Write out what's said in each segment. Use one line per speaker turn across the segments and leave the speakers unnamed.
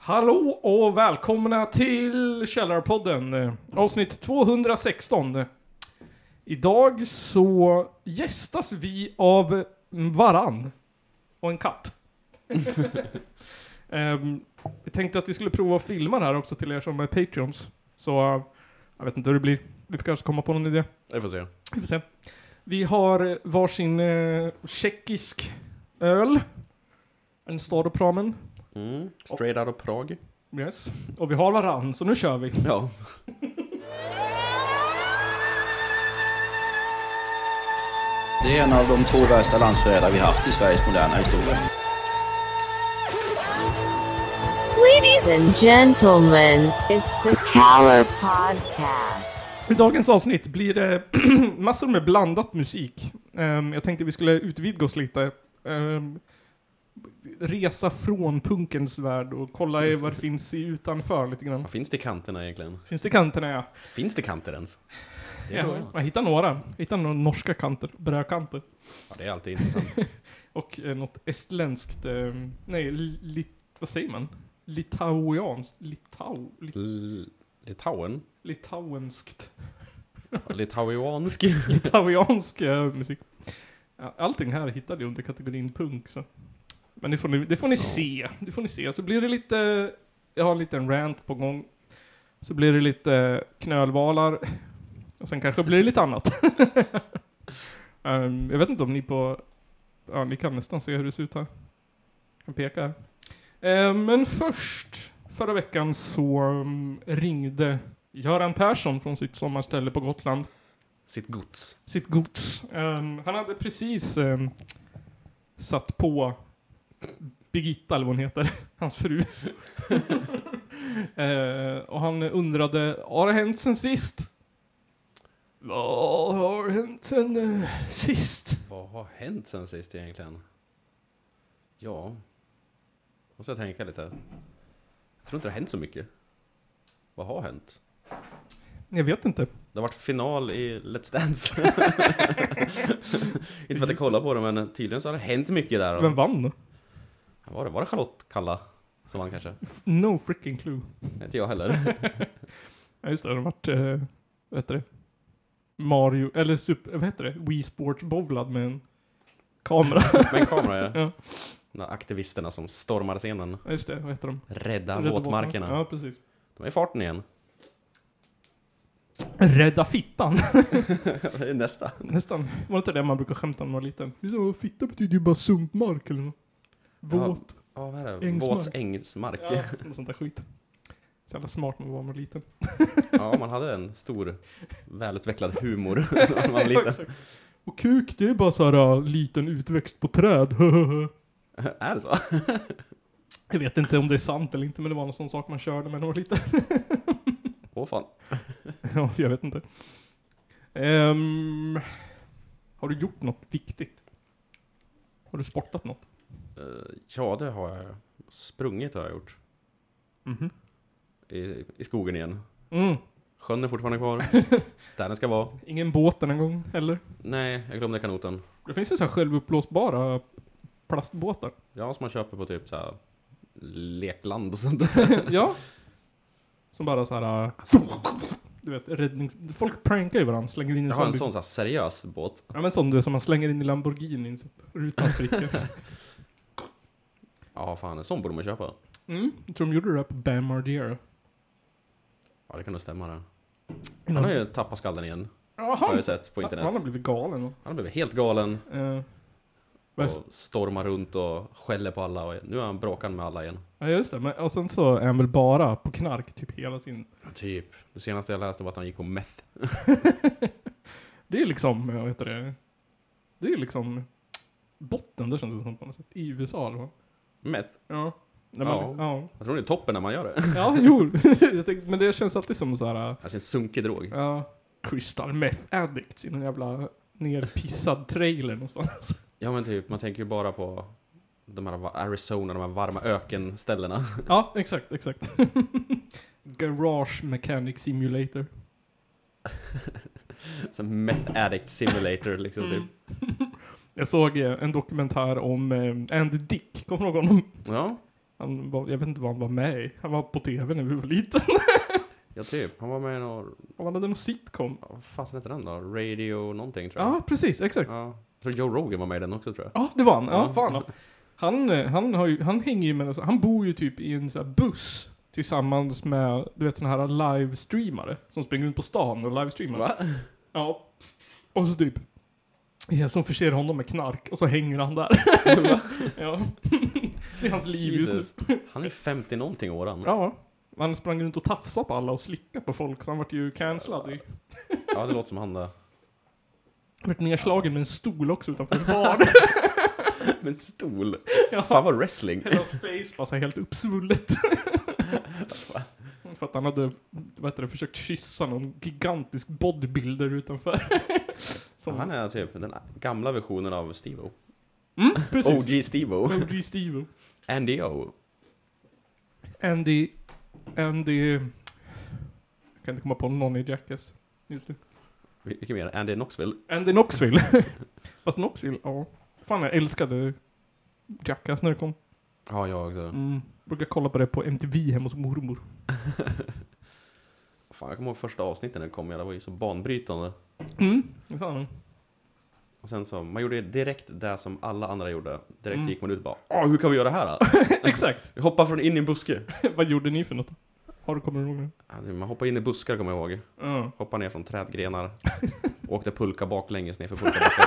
Hallå och välkomna till Källarpodden, eh, avsnitt 216. Idag så gästas vi av varann och en katt. Ehm, Vi tänkte att vi skulle prova att filma det här också till er som är Patreons. Så eh, jag vet inte hur det blir. Vi får kanske komma på någon idé.
Vi får se.
Vi får se. Vi har varsin eh, tjeckisk öl. En Staropramen.
Mm. Straight out of Prag.
Yes. Och vi har varann, så nu kör vi.
Ja.
Det är en av de två värsta landsförrädare vi haft i Sveriges moderna historia.
Ladies and gentlemen, it's the Caller Podcast.
I dagens avsnitt blir det massor med blandat musik. Ehm, jag tänkte vi skulle utvidga oss lite. Ehm, resa från punkens värld och kolla i vad det finns i utanför lite grann.
Vad finns det i kanterna egentligen?
Finns det kanterna ja?
Finns det kanter ens? Det är,
ja jag hittar några. Jag hittar några norska kanter, brödkanter.
ja, det är alltid intressant.
Och eh, något estländskt, eh, nej, li, lit- vad säger man? Litauianskt, litau, li,
L- Litauen?
litauenskt,
Litauiansk?
litauiansk eh, musik. Ja, Allting här hittade jag under kategorin punk så. Men det får ni, det får ni se, det får ni se. Så blir det lite, jag har en liten rant på gång. Så blir det lite knölvalar. Och sen kanske blir det lite annat. Ehm, jag vet inte om ni på, ja ni kan nästan se hur det ser ut här. Jag pekar. Eh, men först, förra veckan så mm, ringde Göran Persson från sitt sommarställe på Gotland
Sitt gods.
sitt gods. Ehm, han hade precis ehm, satt på Birgitta, eller vad hon heter, hans fru. Eh, och han undrade, har det hänt sen sist? Vad har hänt sen eh, sist?
Vad har hänt sen sist egentligen? Ja. Måste jag tänka lite. Jag tror inte det har hänt så mycket. Vad har hänt?
Jag vet inte.
Det har varit final i Let's Dance. inte för att jag kollar på det, men tydligen så har det hänt mycket där.
Vem vann?
Var det, var det Charlotte Kalla som vann kanske?
No freaking clue.
Inte jag heller.
Ja, just det, det har varit, eh, vad heter det? Mario, eller super, vad heter det? Wii Sports bowlad med en kamera.
Med en kamera ja.
Ja.
De där aktivisterna som stormar scenen.
Ja, just det, vad heter de?
Rädda,
Rädda
våtmarkerna.
Ja, precis.
De är i farten igen.
Rädda fittan.
det är nästa.
Nästan. Var det inte det man brukar skämta om när man var liten? Så, fitta betyder ju bara sumpmark eller något. Våt.
Ja, vad är det?
Ängsmark.
Våts ängsmark.
Ja,
Ja.
något sånt där skit. Så jävla smart man var när man var liten.
man hade en stor välutvecklad humor när man var liten.
Exakt. Och kuk, det är bara så här äh, liten utväxt på träd.
är det så?
Jag vet inte om det är sant eller inte, men det var någon sån sak man körde när man var liten.
Åh fan.
ja, jag vet inte. Ehm, har du gjort något viktigt? Har du sportat något?
Eh, ja, det har jag. Sprungit har jag gjort.
Mhm.
I, I skogen igen.
Mm.
Sjön är fortfarande kvar. Där den ska vara.
Ingen båt den här gången heller.
Nej, jag glömde kanoten.
Det finns ju så här självuppblåsbara plastbåtar.
Ja, som man köper på typ så här lekland och sånt där.
ja. Som bara så här. äh, Du vet, räddnings... Folk prankar ju varandra, slänger in en
Jag har en
bil-
sån så här seriös båt.
Ja men sån du vet, som man slänger in i Lamborghini så att rutan spricker.
Ja, fan, en sån borde man köpa.
Mm, jag tror de gjorde det där på Bam Margera.
Ja, det kan nog stämma det.
Innan-
Han har ju tappat skallen igen, har
Jaha!
jag sett på internet.
Mm. Han har blivit galen. och-
Han har blivit helt galen
Eh, väst-
och stormar runt och skäller på alla och nu är han bråkande med alla igen.
Ja just det, men, och sen så är han väl bara på knark typ hela tiden.
Typ. Det senaste jag läste var att han gick på meth.
Det är liksom, eh, vad heter det? Det är liksom botten där känns det som på något sätt. I USA eller vad?
Meth?
Ja. Nej, men,
Ja.
ja.
Jag tror det är toppen när man gör det.
Ja, jo. jag tänkte, men det känns alltid som så här. äh,
Alltså en sunkig drog.
Ja. Crystal Meth Addicts i någon jävla nerpissad trailer någonstans.
Ja men typ, man tänker ju bara på de här va- Arizona, de här varma ökenställena.
ja, exakt, exakt. Garage Mechanic Simulator.
Så meth addict simulator liksom
Mm.
typ.
Jag såg eh, en dokumentär om eh, Andy Dick, kommer du ihåg honom?
Ja,
Han var, jag vet inte vad han var med i. Han var på tv när vi var liten.
Ja, typ. Han var med i någon...
Han hade någon sitcom.
Vad fasen hette den då? Radio någonting tror jag.
Ja, precis. Exakt.
Ja. Jag tror Joe Rogan var med i den också tror jag.
Ja, det var han. Ja,
Ja.
fan. ja. Han, eh, han, har ju, han hänger ju med, alltså, han bor ju typ i en sån här buss tillsammans med, du vet såna här livestreamare som springer runt på stan och livestreamar.
Va?
Ja. Och så typ, ja, som förser honom med knark och så hänger han där. ja. Det är hans liv just nu.
Jesus. Han är 50 någonting år han.
Ja. Han sprang runt och tafsade på alla och slickade på folk så han vart ju cancellad. i-
Ja, det låter som han där.
Vart nedslagen med en stol också utanför en bar.
Med en stol.
Ja.
Fan vad wrestling.
Hela hans face var så här helt uppsvullet. För att han hade, vad heter det, försökt kyssa någon gigantisk bodybuilder utanför. Som,
Han är typ den gamla versionen av Steve-O.
mm, precis.
OG Steve-O.
OG Steve.
Andy O.
Andy, Andy, jag kan inte komma på någon i Jackass just nu.
Vilken mer? Andy Knoxville.
Andy Knoxville. Fast Knoxville, ja. Fan jag älskade Jackass när det kom.
Ja, jag också.
Mm. Brukar kolla på det på MTV hemma hos mormor.
Fan, jag kommer ihåg första avsnittet när det kom, ja, det var ju så banbrytande.
Mm, fan.
Och sen så, man gjorde ju direkt det som alla andra gjorde. Direkt
Mm.
gick man ut och bara Åh, hur kan vi göra det här då?
Exakt.
Vi hoppar från in i en buske.
Vad gjorde ni för något? Har du kommit ihåg det?
Alltså, man hoppar in i buskar kommer jag ihåg.
Ja.
Hoppar ner från trädgrenar. Åkte pulka baklänges ner för pulkabacken.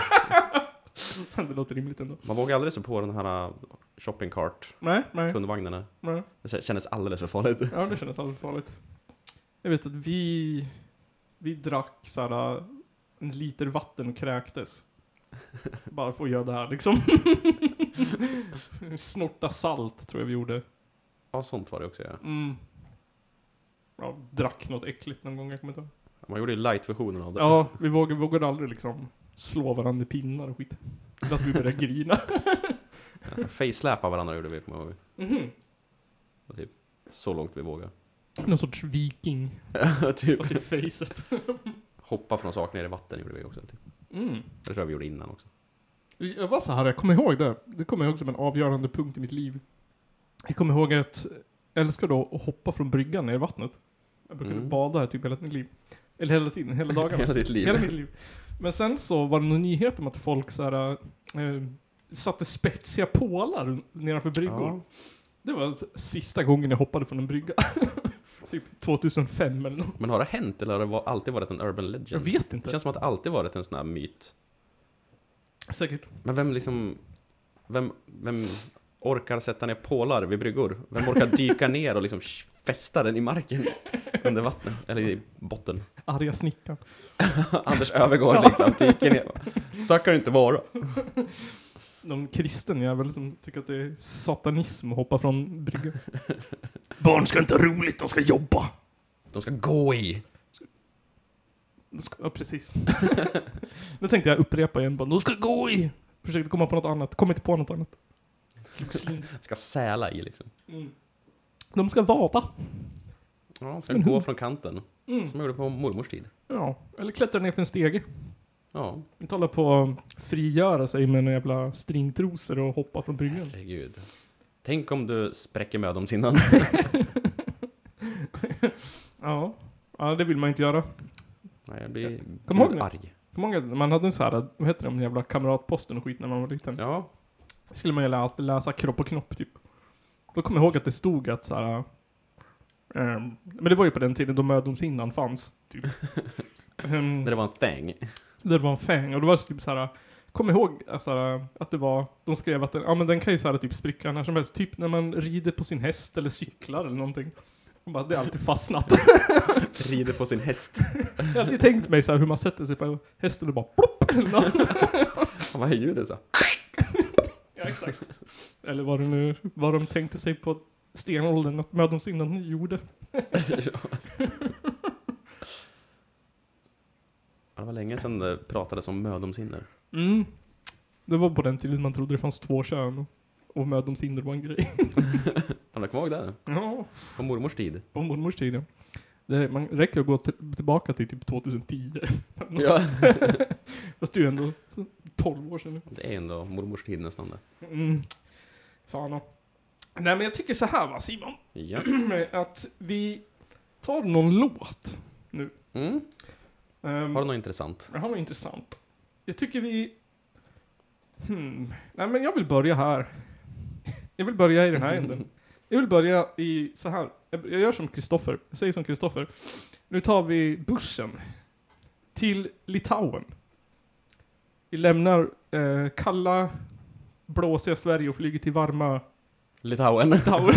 Det låter rimligt ändå.
Man vågade aldrig sig på den här äh, shopping cart,
Nej, nej,
kundvagnarna.
nej.
Det kä- kändes alldeles för farligt.
Ja, det kändes alldeles farligt. Jag vet att vi, vi drack såhär en liter vatten och kräktes. Bara för att göra det här liksom. Snorta salt tror jag vi gjorde.
Ja, sånt var det också ja.
Mm. Ja, drack något äckligt någon gång, jag kommer inte ihåg.
Man gjorde ju light-versionen av det.
Ja, vi vågade, vågade aldrig liksom slå varandra i pinnar och skit. Så att vi började grina.
Face-släpa varandra gjorde vi, kommer jag ihåg.
Mhm.
Och Typ, så långt vi vågade.
Någon sorts viking,
typ.
fast i facet.
Hoppa från saker ner i vatten gjorde vi också. Typ.
Mm.
Det tror jag vi gjorde innan också.
Jag var så här, jag kommer ihåg det. Det kommer jag ihåg som en avgörande punkt i mitt liv. Jag kommer ihåg att jag älskar då att hoppa från bryggan ner i vattnet. Jag brukade
Mm.
bada här typ hela mitt liv. Eller hela tiden, hela dagarna.
Hela ditt liv.
Hela mitt liv. Men sen så var det någon nyhet om att folk så här, eh, satte spetsiga pålar nedanför bryggor.
Ja.
Det var sista gången jag hoppade från en brygga. typ 2005 eller något.
Men har det hänt eller har det va- alltid varit en urban legend?
Jag vet
Det
inte.
känns som att det alltid varit en sån här myt.
Säkert.
Men vem liksom... Vem, vem orkar sätta ner pålar vid bryggor? Vem orkar dyka ner och liksom sh- fästa den i marken? Under vattnet, eller i botten.
Arga snickaren.
Anders Öfvergård liksom dyker ner. Så kan det inte vara.
någon kristen jävel som tycker att det är satanism att hoppa från bryggan. Barn ska inte ha roligt, de ska jobba.
De ska gå i.
De ska, ja, precis. nu tänkte jag upprepa igen bara, de ska gå i. Försökte komma på något annat, kom inte på något annat. Slogs in.
Ska säla i liksom.
Mm. De ska vada.
Ja, de ska gå från kanten.
Mm.
Som jag gjorde på mormors tid.
Ja, eller klättra ner för en stege.
Ja,
Vi talar på um, frigöra sig med en jävla stringtrosor och hoppa från bryggan.
herregud. Tänk om du spräcker mödomshinnan.
Ja. ja, det vill man inte göra.
Nej, jag blir
Kom ihåg
gud
det.
arg.
Hur många, man hade en så här, vad heter det, de jävla kamratposten och skit när man var liten.
Ja,
skulle man ju lä- läsa kropp och knopp typ. Då kommer jag ihåg att det stod att så här. ehm, men det var ju på den tiden då mödomshinnan fanns. Typ. Ehm,
när det var en thing.
det var en fäng och då var det typ så här. Kom ihåg alltså, att det var, de skrev att den, ja, men den kan ju så här, typ spricka när som helst. Typ när man rider på sin häst eller cyklar eller någonting. Och Bara, det har alltid fastnat.
Rider på sin häst.
Jag har alltid tänkt mig så här, hur man sätter sig på hästen och bara plopp! Eller något.
Vad är ljudet så?
Ja, exakt. Eller vad, det nu, vad de tänkte sig på stenåldern att mödomshinnan gjorde.
Ja, det var länge sedan det pratades om mödomshinder.
Mm. Det var på den tiden man trodde det fanns två kön. Och mödomshinder var en grej.
Ja, men kom ihåg det.
Ja.
På mormors tid.
På mormors tid, ja. Det man räcker att gå till, tillbaka till typ 2010.
Ja.
Fast det är ju ändå 12 år sedan
Det är ändå mormors tid nästan det.
nu. Mm. Fan ja. Nej men jag tycker så här va Simon,
Ja.
att vi tar någon låt.
Mm.
Ehm,
Har du något intressant?
Det här var intressant. Jag tycker vi... Hmm. Nej, men jag vill börja här. Jag vill börja i den här änden. Jag vill börja i så här. Jag jag gör som Kristoffer. Jag säger som Kristoffer. Nu tar vi bussen till Litauen. Vi lämnar eh, kalla, blåsiga Sverige och flyger till varma
Litauen.
Litauen.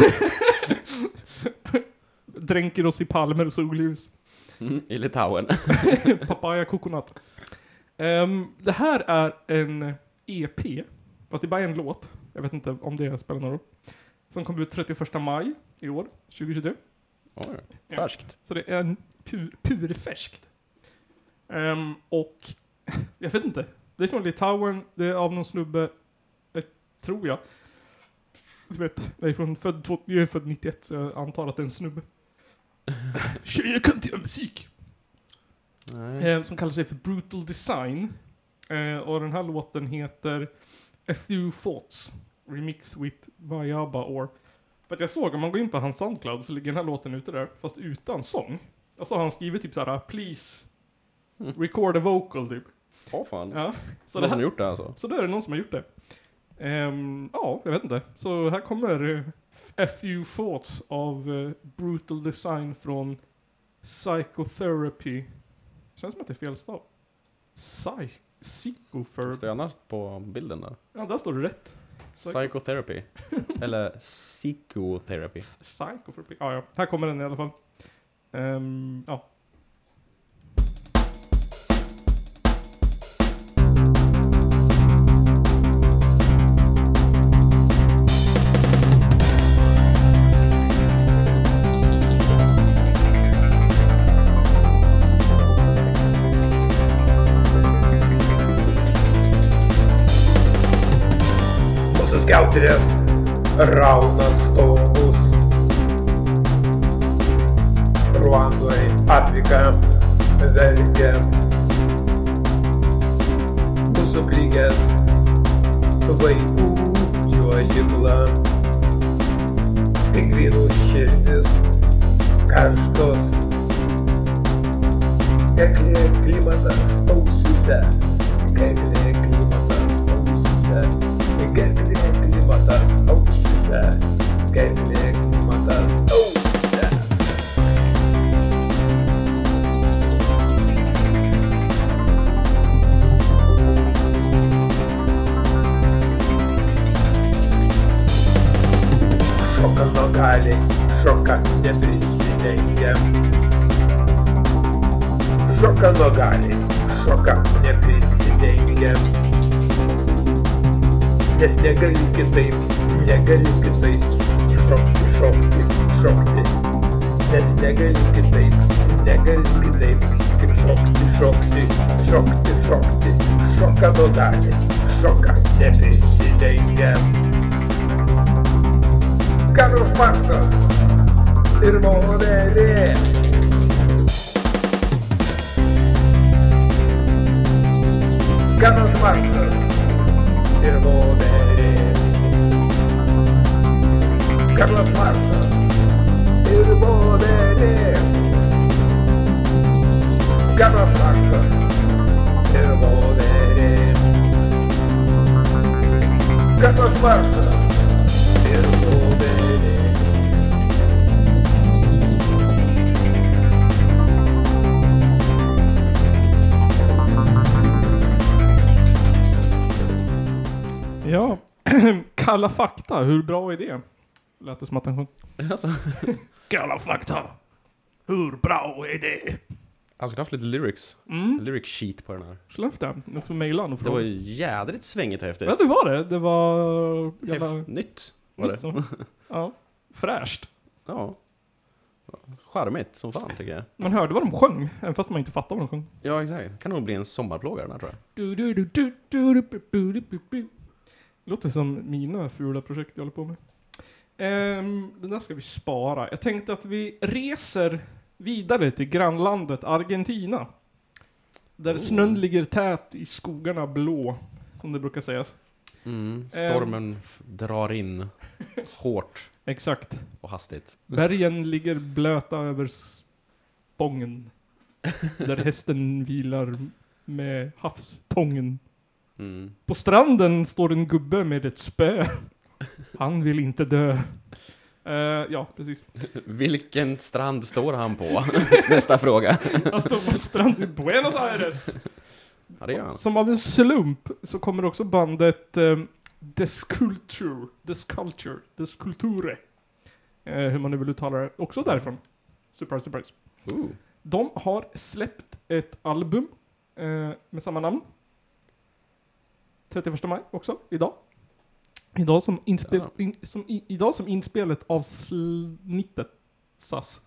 Dränker oss i palmer och solljus.
Mm. I Litauen.
Papaya Coconut. Ehm, det här är en EP, fast det är bara en låt. Jag vet inte om det spelar någon roll. Som kom ut 31 maj i år, 2023.
Oj, färskt.
Så det är en pur, purfärskt. Ehm, och jag vet inte. Det är från Litauen, det är av någon snubbe, eh, tror jag. Du vet, jag är, från, född, två- jag är född 91 så jag antar att det är en snubbe. Tjejer kan inte göra musik!
Nej.
eh, som kallar sig för Brutal Design. Eh, och den här låten heter A Few Thoughts Remix with Vajaba Or. För att jag såg, om man går in på hans Soundcloud så ligger den här låten ute där, fast utan sång. Och så har han skrivit typ såhär, please, record a vocal typ.
Åh fan.
Ja, så,
Någon
det
som
här,
gjort det alltså?
så då är det någon som har gjort det. Ehm, ja, jag vet inte. Så här kommer eh, A Few Thoughts av eh, Brutal Design från Psychotherapy. Känns som att det är fel stav. Psy-
Står
Psychotherapy.
det annars på bilden där?
Ja, där står det rätt. Psy-
Psychotherapy. Eller psychotherapy.
Psychotherapy. Ja, ja. Här kommer den i alla fall. Ehm, ja.
Och så ska alltid den raudas tomus. Ruandoj atvikam verkiam. Užsuplikęs vaikučio jibla. Kiekvienų širdis karštos. Gerklė klimatas ausyse. Gerklė klimatas ausyse. Gerklė klimatas ausyse. Gerklė klimatas ausyse. Šoka lokaliai, šoka neprisidengė. Šoka nogaliai, šoka neprisidengė. Nes negali kitaip, negali kitaip, šokti, šokti, šokti. Nes negali kitaip, negali kitaip, kaip šokti, šokti, šokti, šokti. Šoka nogaliai, šoka neprisidengė. Karus Marsas ir Monerė. Carlos Marx, el modere. Carlos Marx, el modere. Carlos Marx, el modere. Carlos Marx, el modere.
ja. Kalla fakta, hur bra är det? Lät det som att han sjöng.
Alltså,
Kalla fakta, hur bra är det?
han skulle haft lite lyrics.
Mm.
Lyric sheet på den här.
Skellefteå, jag får mejla honom och
Det var
fråga.
ju jädrigt svängigt och häftigt.
Ja, det var det. Det var...
Häft-
Jävla...
Nytt var det.
Så. Ja, fräscht.
Ja. Charmigt som fan tycker jag.
Man hörde vad de sjöng, även fast man inte fattade vad de sjöng.
Ja exakt. Kan nog bli en sommarplåga den här tror jag.
Du, du, du, du, du, du, bu, bu, du, bu, bu. Låter som mina fula projekt jag håller på med. Um, den där ska vi spara. Jag tänkte att vi reser vidare till grannlandet Argentina. Där snön ligger tät i skogarna blå, som det brukar sägas.
Mm. Stormen f- drar in hårt
Exakt.
och hastigt.
Bergen ligger blöta över spången. Där hästen vilar med havstången.
Mm.
På stranden står en gubbe med ett spö. Han vill inte dö. Eh, ja, precis.
Vilken strand står han på? Nästa fråga.
Han står på en strand i Buenos Aires.
Ja, det gör han.
Som av en slump så kommer också bandet eh, Desculture, Desculture, Desculture. Eh, hur man nu vill uttala det. Också därifrån. Surprise, surprise.
Ooh.
De har släppt ett album eh, med samma namn. 31 maj också, idag. Idag som, inspel, in, som, i, idag som inspelet avsnittet sas.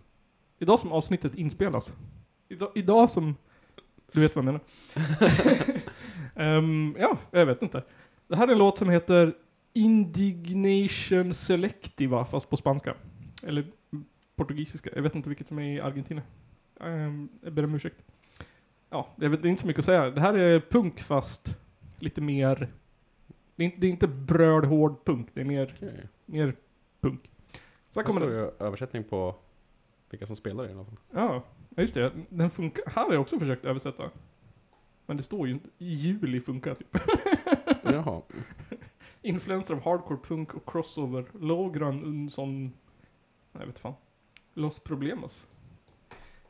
Idag som avsnittet inspelas. Idag, idag som... Du vet vad jag menar. Ehm, ja, jag vet inte. Det här är en låt som heter Indignation Selectiva, fast på spanska. Eller portugisiska. Jag vet inte vilket som är i Argentina. Ehm, jag ber om ursäkt. Ja, jag vet det är inte så mycket att säga. Det här är punk fast lite mer... Det är inte, det är inte brödhård punk, det är mer,
Okej.
mer punk. Så här
Här
kommer
står
den.
ju översättning på vilka som spelar i alla fall.
Ja, ja, just det. Den funkar. Här har jag också försökt översätta. Men det står ju inte. I juli funkar typ.
Jaha.
Influencer av hardcore punk och crossover. Lågran unson... Nej, jag vet fan. Los Problemas.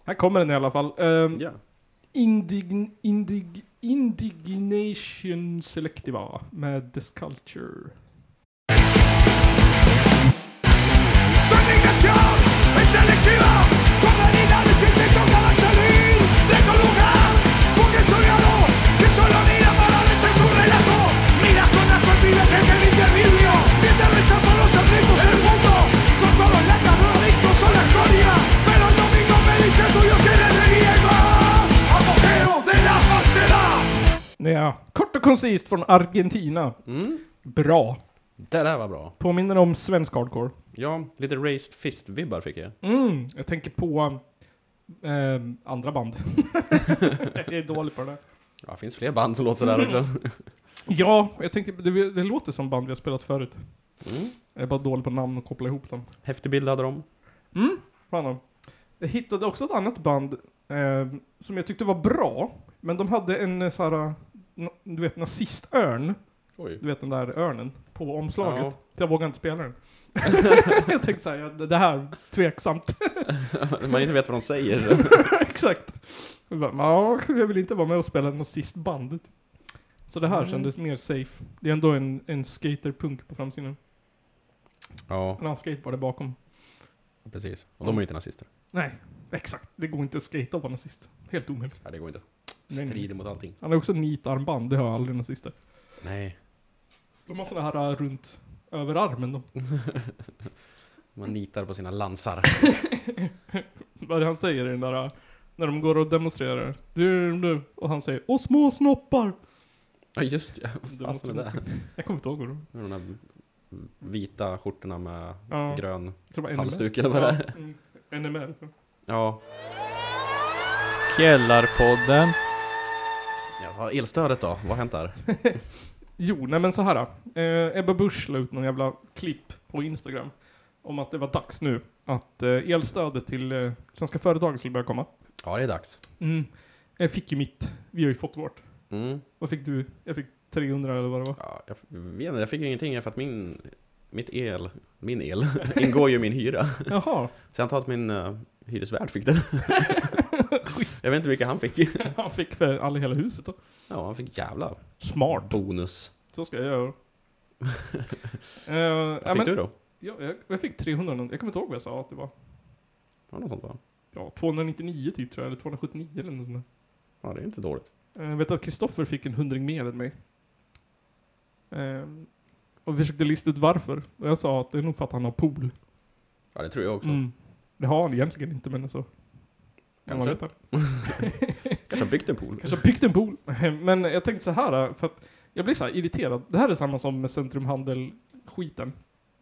Här kommer den i alla fall. Ehm,
Ja.
indign, indig, indignation Selectiva med The Sculpture.
Su indignación es selectiva, comunidades que intentan para salir de tu lugar, porque soy algo que solo mira para dentro y su relajo. Mira con las convivencias que limpia el vidrio, mientras rezan por los secretos del mundo. Son todos lacadronitos, son la gloria, pero el domingo me dice tuyo que le riego. Apogeo de la falsedad.
Ja, kort och koncist från Argentina. Bra.
Det där var bra.
Påminner om svensk hardcore.
Ja, lite raised fist-vibbar fick jag.
Mm, jag tänker på ehm, andra band. jag är dålig på det där.
Ja, det finns fler band som låter sådär också.
Ja, jag tänker, det, det låter som band vi har spelat förut. Jag är bara dålig på namn och koppla ihop dem.
Mm. Häftig bild hade de.
Fan om. Jag hittade också ett annat band ehm, som jag tyckte var bra, men de hade en eh, så här, eh, na- du vet nazistörn,
Oj.
du vet den där örnen, på omslaget.
Ja.
Så jag vågade inte spela den. jag tänkte såhär, ja, det det här, tveksamt.
Man inte vet vad de säger.
Exakt. Jag, bara, "Ja, jag vill inte vara med och spela nazistband. Så det här kändes mer safe. Det är ändå en, en skaterpunk på framsidan.
Ja,
En annan skateboarder bakom.
precis. Och de är ju inte nazister.
Nej, exakt. Det går inte att skata och vara nazist. Helt omöjligt.
Nej, det går inte.
Nej, nej.
Strider mot allting.
Han har också nitarmband, det har aldrig nazister.
Nej,
De har sådana här äh, runt över armen. då.
man nitar på sina lansar.
Vad är det han säger i den där, äh, när de går och demonstrerar. Du, du. Och han säger, och små snoppar.
Ja, just ja. Vad
Det
fan
måste
är det där?
Jag kommer inte ihåg vad de
Med De där vita skjortorna med
Ja.
grön
jag tror det var NMR.
halsduk eller vad det är.
Ja, mm, NMR. tror jag.
Ja.
Källarpodden.
ja. Elstödet då? Vad har hänt där?
Jo, nej men så här. Eh, Ebba Busch la ut någon jävla klipp på Instagram om att det var dags nu att eh, elstödet till eh, svenska företag skulle börja komma.
Ja, det är dags.
Mm. Jag fick ju mitt. Vi har ju fått vårt.
Mm.
Vad fick du? Jag fick 300 eller vad det var.
Ja, jag, vet inte, jag fick ju ingenting för att min, mitt el, min el, ingår ju i min hyra.
Jaha,
Så jag antar att min uh, hyresvärd fick den.
schysst.
Jag vet inte vilka han fick.
Han fick för alla i hela huset då.
Ja, han fick jävla
Smart.
bonus.
Så ska jag göra. Eh,
Vad
ja,
fick
men,
du då?
Jag, jag, jag fick 300, någon- jag kommer inte ihåg vad jag sa att det var.
Ja, något sånt va?
Ja, 299 typ tror jag, eller 279 eller något sånt där.
Ja, det är inte dåligt.
Eh, Jag vet att Kristoffer fick en hundring mer än mig. Eh, och vi försökte lista ut varför. Och jag sa att det är nog för att han har pool.
Ja, det tror jag också.
Mm. Det har han egentligen inte, men alltså. Kan man
Kanske.
veta.
Kanske har byggt en pool.
Kanske har byggt en pool. Men jag tänkte så här, för att jag blir så här irriterad. Det här är samma som med centrumhandel-skiten.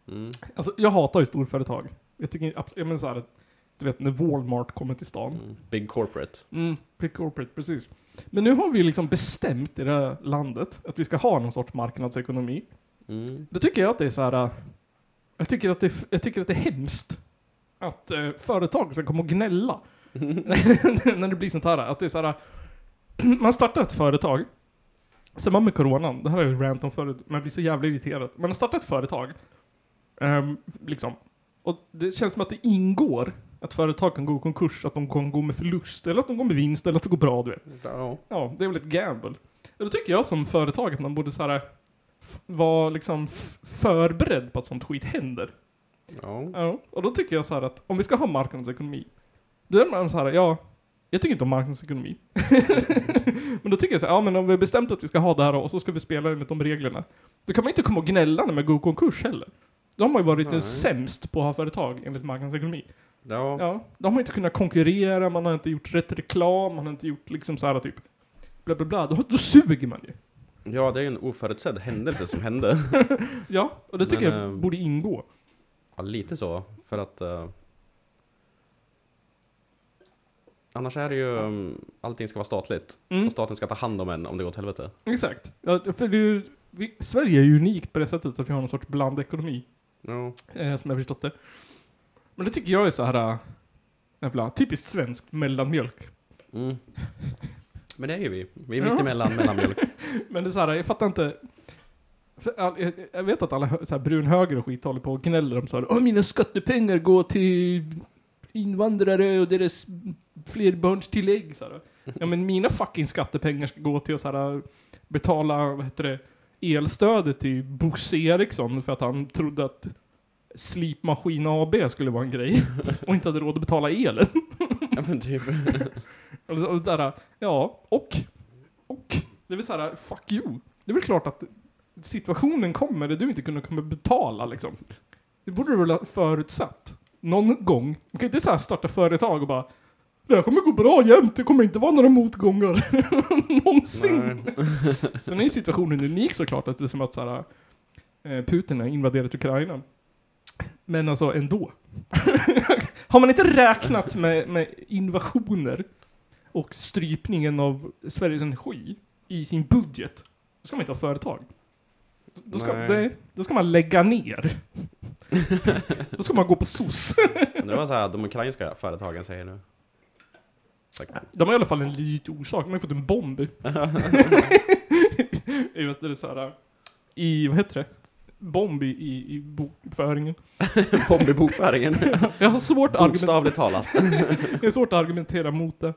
Mm.
Alltså, jag hatar ju storföretag. Jag tycker abs- jag menar så här, att det du vet när Walmart kommer till stan.
Mm. Big corporate.
Mm, big corporate, precis. Men nu har vi liksom bestämt i det här landet att vi ska ha någon sorts marknadsekonomi.
Mm.
Då tycker jag att det är så här. äh, Jag tycker att det, är- jag tycker att det är hemskt att eh, företag ska komma och gnälla. när det blir sånt här. Att det är så här. äh, Man startar ett företag. Sen man med coronan, det här är ju rant om förut, man blir så jävla irriterad. Man har startat ett företag. ehm, liksom. Och det känns som att det ingår att företag kan gå i konkurs, att de kan gå med förlust, eller att de går med vinst, eller att det går bra, du vet.
Ja.
Ja, det är väl ett gamble. Då tycker jag som företag att man borde så här, f- vara liksom f- förberedd på att sånt skit händer.
ja.
Ja, och då tycker jag så här att om vi ska ha marknadsekonomi, då är man så här, ja, jag tycker inte om marknadsekonomi. men då tycker jag så här, ja men om vi har bestämt att vi ska ha det här och så ska vi spela enligt de reglerna, då kan man inte komma och gnälla när man går i konkurs heller. Då har man ju varit
Nej.
Nej. sämst på att ha företag enligt marknadsekonomi.
ja.
Ja, de har inte kunnat konkurrera, man har inte gjort rätt reklam, man har inte gjort liksom så här typ bla bla bla, då, då suger man ju.
Ja, det är ju en oförutsedd händelse som hände.
Ja, och det tycker
Men,
jag
ehm,
borde ingå.
Ja, lite så. För att... eh, annars är det ju... Um, allting ska vara statligt.
Mm.
Och staten ska ta hand om en om det går åt helvete.
Exakt. Ja, för det är ju, vi, Sverige är ju unikt på det sättet att vi har någon sorts blandekonomi,
Ja.
eh, som jag förstått det. Men det tycker jag är så här äh, jävla typiskt svenskt mellanmjölk.
Mm. Men det är ju vi. Vi är
Ja.
mitt emellan mellanmjölk.
Men det är så här, jag fattar inte. För all- Jag jag vet att alla hö- så här brunhöger och skit håller på och gnäller om så här, Åh, mina skattepengar går till invandrare och deras flerbarnstillägg. Så här. Ja, men mina fucking skattepengar ska gå till att så här, betala, vad heter det, elstödet till Bosse Eriksson för att han trodde att Slipmaskin AB skulle vara en grej och inte hade råd att betala elen.
ja, men typ.
Och så, och där, ja, och, och, det är väl såhär, fuck you. Det är väl klart att situationen kommer där du inte kunde kommer betala liksom. Det borde du väl ha förutsatt. Någon gång. Du kan inte såhär starta företag och bara, det här kommer gå bra jämt, det kommer inte vara några motgångar. Någonsin.
Nej.
Sen är ju situationen unik såklart, att det är som att såhär, eh, Putin har invaderat Ukraina. Men alltså ändå. har man inte räknat med, med invasioner och strypningen av Sveriges energi i sin budget, då ska man inte ha företag. Då ska,
Nej.
nej, då ska man lägga ner. då ska man gå på SOS.
Undrar vad så här, de ukrainska företagen säger nu. Tack.
De har i alla fall en lite orsak, de har ju fått en bomb. I, vet du, det så här, I, vad heter det? Bomb i, i, i bokföringen.
Bomb i bokföringen.
Jag har svårt att argumentera,
Bokstavligt talat.
det är svårt att argumentera mot det.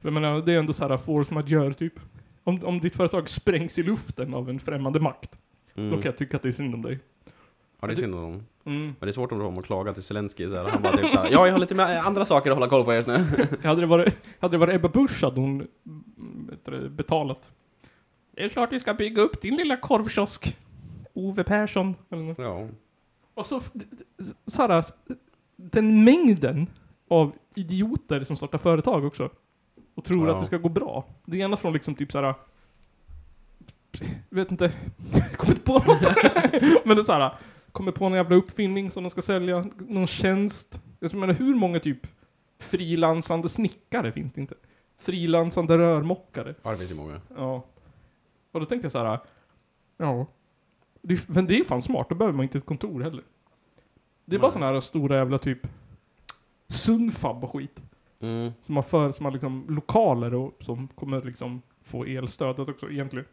För jag menar, det är ändå så här force majeure typ. Om, om ditt företag sprängs i luften av en främmande makt,
Mm.
då kan jag tycka att det är synd om dig.
Ja, det är synd om dem.
Mm.
Men det är svårt om de kommer att klaga till Zelensky så här. Han bara typ så här, ja, jag har lite med andra saker att hålla koll på just nu.
Hade, det varit, hade det varit Ebba Busch hade hon mm, vet du det, betalat. Det är klart vi ska bygga upp din lilla korvkiosk. Ove Persson. Eller något.
Ja.
Och så, f- d- d- så här, den mängden av idioter som startar företag också. Och tror
Ja.
att det ska gå bra. Det ena från liksom typ så här. Vet inte, kommer inte på något. Men det är så här, kommer på en jävla uppfinning som de ska sälja, någon tjänst. Jag menar hur många typ frilansande snickare finns det inte? Frilansande rörmokare.
ja, det finns ju många.
Ja. Och då tänkte jag så här. Ja. Det, men det är fan smart, då behöver man inte ett kontor heller. Det är bara
Nej.
sådana här stora jävla typ Sunfab och skit.
Mm.
Som har, för, som har liksom lokaler och som kommer liksom få elstödet också egentligen.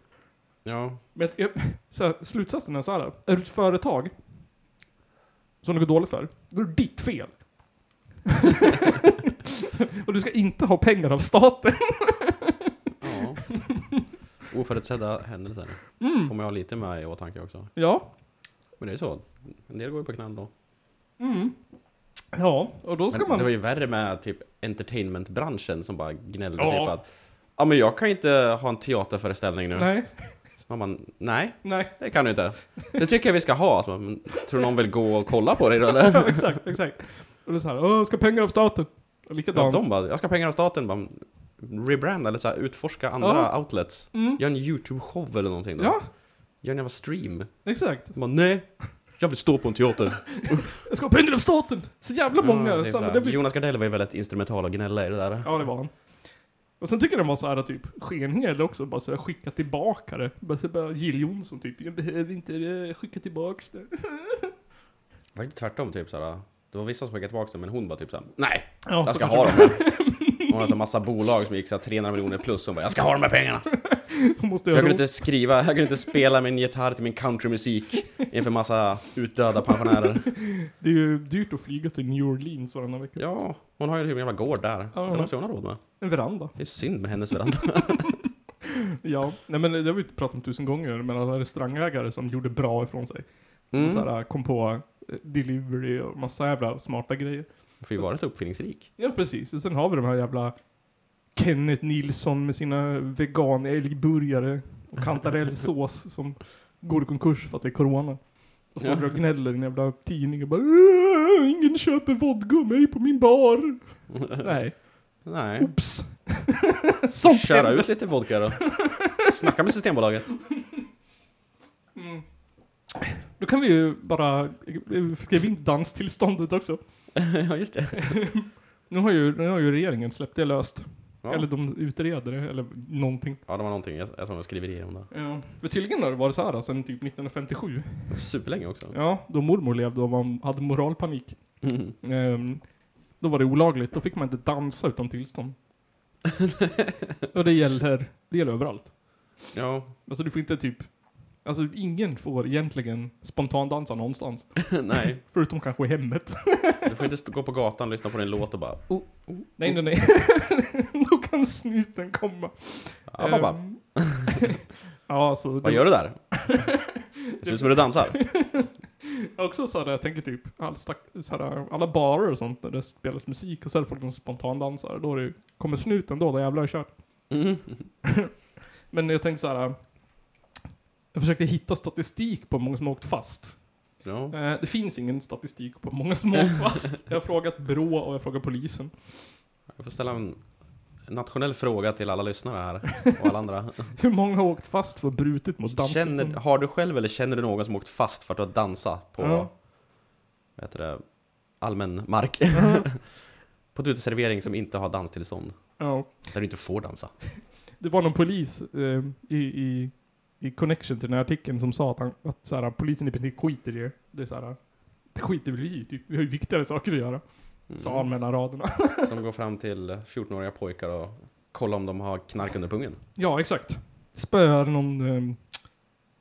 Ja.
Men jag, så här, slutsatsen är så här. Är du ett företag som det går dåligt för, då är det ditt fel. och du ska inte ha pengar av staten.
ja. Oförutsedda händelser.
Mm.
Får man ju ha lite med i åtanke också.
Ja,
Men det är ju så. En del går ju på knall då.
ja, och då ska
Men
man...
det var ju värre med typ entertainmentbranschen som bara gnällde
Ja.
typ att Ja men jag kan inte ha en teaterföreställning nu.
Nej,
Man bara, nej,
nej.
det kan du inte. Det tycker jag vi ska ha. Så, man, men, tror någon vill gå och kolla på dig då eller?
Ja, exakt, exakt. Och det är så här, Åh, ska pengar av staten. Och
Ja,
Likadant.
de bara, jag ska ha pengar av staten. Bara, rebranda eller så här, utforska andra
Ja. Mm.
outlets. Gör en YouTube-show eller någonting då.
Ja,
Gör en jävla stream.
exakt.
Bara, nej, Jag vill stå på en teater.
Jag ska ha pengar av staten! Så jävla många.
Ja, det
samma,
är så här.
det blir,
Mm, typ Jonas Gardell var ju väldigt instrumental och gnälla i det där.
ja, det var han. Och sen tycker jag den var så här typ skenhel också, bara så här, skicka tillbaka det. Bara, så bara Jill Johnson typ, jag behöver inte det, skicka tillbaks det.
Var det inte tvärtom typ såhär? Det var vissa som skickade tillbaka dem men hon var typ såhär Nej!
Ja,
Jag ska
så
ha dem här. Hon hade en massa bolag som gick så här 300 miljoner plus Hon bara Jag ska ha de här pengarna! För
Hon måste
jag
göra
kunde
inte...
inte skriva, jag kunde inte spela min gitarr till min countrymusik Inför massa utdöda pensionärer
Det är ju dyrt att flyga till New Orleans varannan vecka.
Ja, hon har ju typ en jävla gård där
Ja.
Det är också hon har råd med
En veranda.
Det är synd med hennes veranda
Ja, nej men det har vi ju pratat om tusen gånger, men alla restaurangägare som gjorde bra ifrån sig. Som
Mm.
så här, kom på eh, delivery och massa jävla smarta grejer.
Får ju vara lite uppfinningsrik
Ja, precis. Och sen har vi de här jävla Kenneth Nilsson med sina vegan älgburgare och kantarellsås som går i konkurs för att det är corona. Och står
Ja.
där och gnäller i en jävla tidning och bara "Åh, Ingen köper vodka av mig på min bar. Nej,
Nej
oops. Sånt
Köra
händer.
ut lite vodka då Snacka med Systembolaget
Då kan vi ju bara eh, skriva in danstillståndet också.
Ja just det
Nu har ju, nu har ju regeringen släppt det löst.
Ja,
Eller de utreder det, eller någonting.
ja det var någonting, jag, jag tror de skriver i om det
Ja. För tydligen har det varit så här sedan typ 1957.
Superlänge också
Ja, då mormor levde och man hade moralpanik.
Mm.
Ehm, då var det olagligt, då fick man inte dansa utan tillstånd. och det gäller, det gäller överallt.
Ja,
Alltså du får inte typ, alltså ingen får egentligen spontandansa någonstans.
nej
Förutom kanske i hemmet.
Du får inte stå- gå på gatan och lyssna på din låt och bara
nej, nej,
Mm.
nej. då kan snuten komma.
"Ah, pappa,
Ehm, ja, alltså.
Vad gör du där? Det ser ut som du dansar.
Jag har också så här, jag tänker typ, all stack, så här, alla barer och sånt när det spelas musik och så är det folk som spontandansar. Då är det, kommer snuten då, då jävlar är det kört.
Mm.
Men jag tänkte så här. Jag försökte hitta statistik på hur många som har åkt fast.
Ja.
Eh, det finns ingen statistik på hur många som har åkt fast. Jag har frågat Brå och jag har frågat polisen.
Jag får ställa en en nationell fråga till alla lyssnare här och alla andra.
Hur många har åkt fast för brutit mot dansen?
Känner, har du själv eller känner du någon som åkt fast för att du har dansat på
Ja.
vad heter det, allmän mark? på en uteservering som inte har danstillstånd.
Ja,
Där du inte får dansa.
det var någon polis eh, i, i, i connection till den här artikeln som sa att, han, att så här, polisen i princip skiter i det. Det är så här, det skiter vi i, typ. vi har ju viktigare saker att göra.
Mm.
Sa han mellan raderna.
Som går fram till 14-åriga pojkar och kollar om de har knark under pungen.
Ja, exakt. Spöar någon, eh,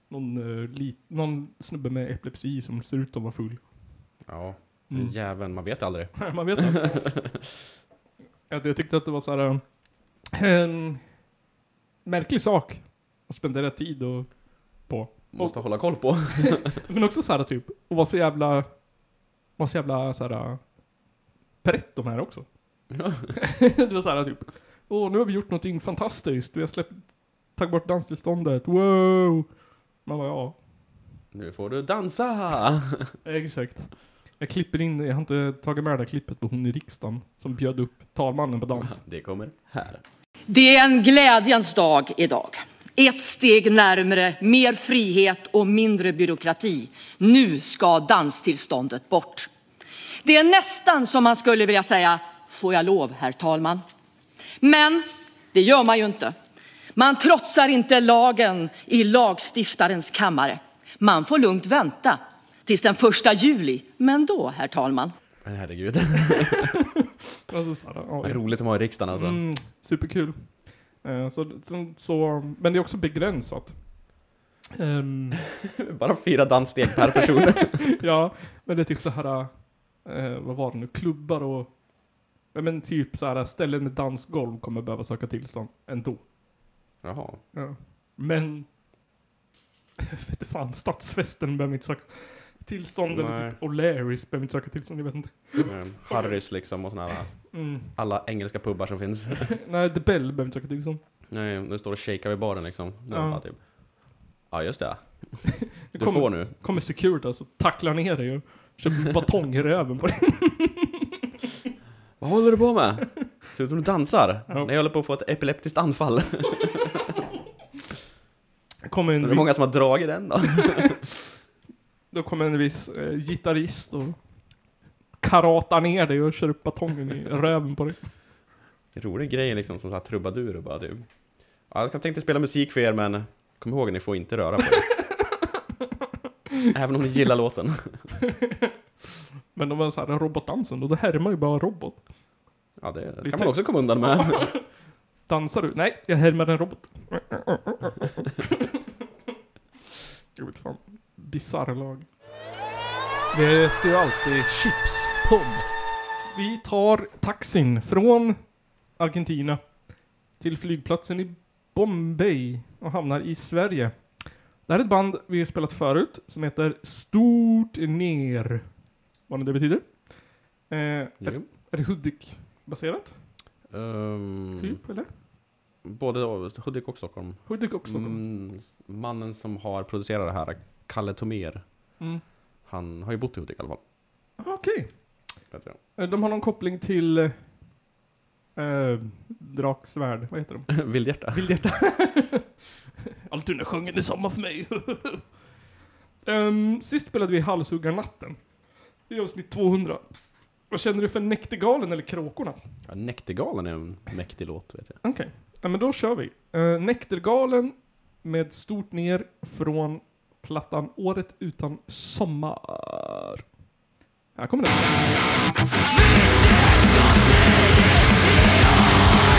någon, eh, lit, någon snubbe med epilepsi som ser ut att vara full.
Ja,
Mm.
den jäveln, man vet aldrig.
Man vet inte. jag, jag tyckte att det var så här eh, en märklig sak att spendera tid och, på.
Måste hålla koll på.
Men också så här typ, och vara så jävla, vara så jävla så här prätt de här också. det var så här typ, åh nu har vi gjort någonting fantastiskt, vi har släppt, tagit bort danstillståndet, wow! Man bara ja,
Nu får du dansa!
Exakt. Jag klipper in, jag har inte tagit med det där klippet på hon i riksdagen som bjöd upp talmannen på dans.
Det kommer här.
Det är en glädjens dag idag. Ett steg närmare mer frihet och mindre byråkrati. Nu ska danstillståndet bort. Det är nästan som man skulle vilja säga, får jag lov, herr talman? Men det gör man ju inte. Man trotsar inte lagen i lagstiftarens kammare. Man får lugnt vänta tills den första juli. Men då, herr talman.
Men herregud.
Alltså så här, ja,
Vad roligt de har i riksdagen alltså.
mm, superkul. Eh, Så, så, så, men det är också begränsat. Ehm,
Bara fyra danssteg per person.
ja, men det är typ så här, eh, vad var det nu, klubbar och, ja, men typ så här ställen med dansgolv kommer behöva söka tillstånd ändå.
Jaha.
Ja. Men, vet du fan, stadsfesten behöver inte söka tillstånd. Eller
Nej.
typ O'Learys behöver inte söka tillstånd, jag vet inte.
Mm, Harrys liksom och såna här.
Mm.
Alla engelska pubbar som finns.
Nej, The Bell behöver inte söka tillstånd.
Nej, nu står och shakar vid baren liksom. Nu
Ja.
bara typ. Ja just det.
Det
Du
kommer,
får nu.
kommer Securitas och tacklar ner dig och kör batong i röven på dig.
Vad håller du på med? Ser ut som du dansar.
Ja. Mm.
Nej jag håller på att få ett epileptiskt anfall.
Kommer
Är det
en,
många som har dragit den då?
Då kommer en viss eh, gitarrist och karatar ner dig och kör upp batongen i röven på dig.
Rolig grej liksom som så här trubadur och bara du. Ja, jag ska- tänkte spela musik för er men kom ihåg ni får inte röra på er. Även om ni gillar låten.
Men de var så här robotdansen då, då härmar ju bara robot.
Ja, det
Lite-
kan man också komma undan med.
Dansar du? Nej, jag härmar en robot. Jag vet fan. Bisarr lag.
Det heter ju alltid Chipspodd.
Vi tar taxin från Argentina till flygplatsen i Bombay och hamnar i Sverige. Det här är ett band vi har spelat förut som heter Stort Ner. Vad nu det betyder. Eh, är,
Jo.
är det Hudik-baserat?
Ehm,
Typ, eller?
både Hudik och Stockholm.
Hudik också.
Mm, mannen som har producerat det här, Kalle Tomér.
Mm.
Han har ju bott i Hudik i alla fall.
Ah, Okej.
Vet jag.
Eh, De har någon koppling till eh, Draksvärd. Vad heter de?
Vildhjärta.
Vildhjärta. Allt under sjungen är samma för mig. Ehm, sist spelade vi Halshuggarnatten. I avsnitt 200. Vad känner du för Näktergalen eller Kråkorna?
Ja, Näktergalen är en mäktig låt vet jag.
Okej. Ja, men då kör vi. Uh, Näktergalen med stort ner från plattan Året utan sommar. Här kommer den.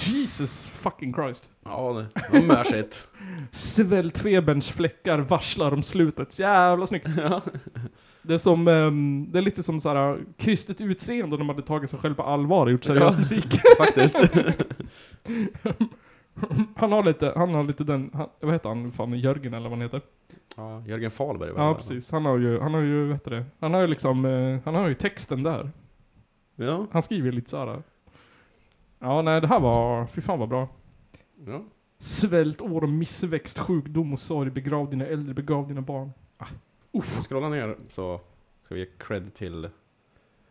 Jesus fucking Christ.
Ja, det var mörsigt.
Svältfeberns fläckar varslar om slutet. Jävla snyggt. Det är, som, ehm, det är lite som såhär, kristet utseende när man hade tagit sig själv på allvar och gjort seriös
Ja.
musik.
Faktiskt.
Han har lite, han har lite den, han, vad heter han, fan, Jörgen eller vad han heter?
Ja, Jörgen Fahlberg var
Ja
det.
precis, han har ju, han har ju, vad heter det, han har ju liksom, eh, han har ju texten där.
Ja,
Han skriver lite såhär. Ja nej det här var, fy fan vad bra.
ja.
Svält, år och missväxt, sjukdom och sorg, begrav dina äldre, begrav dina barn.
Scrolla ner så ska vi ge cred till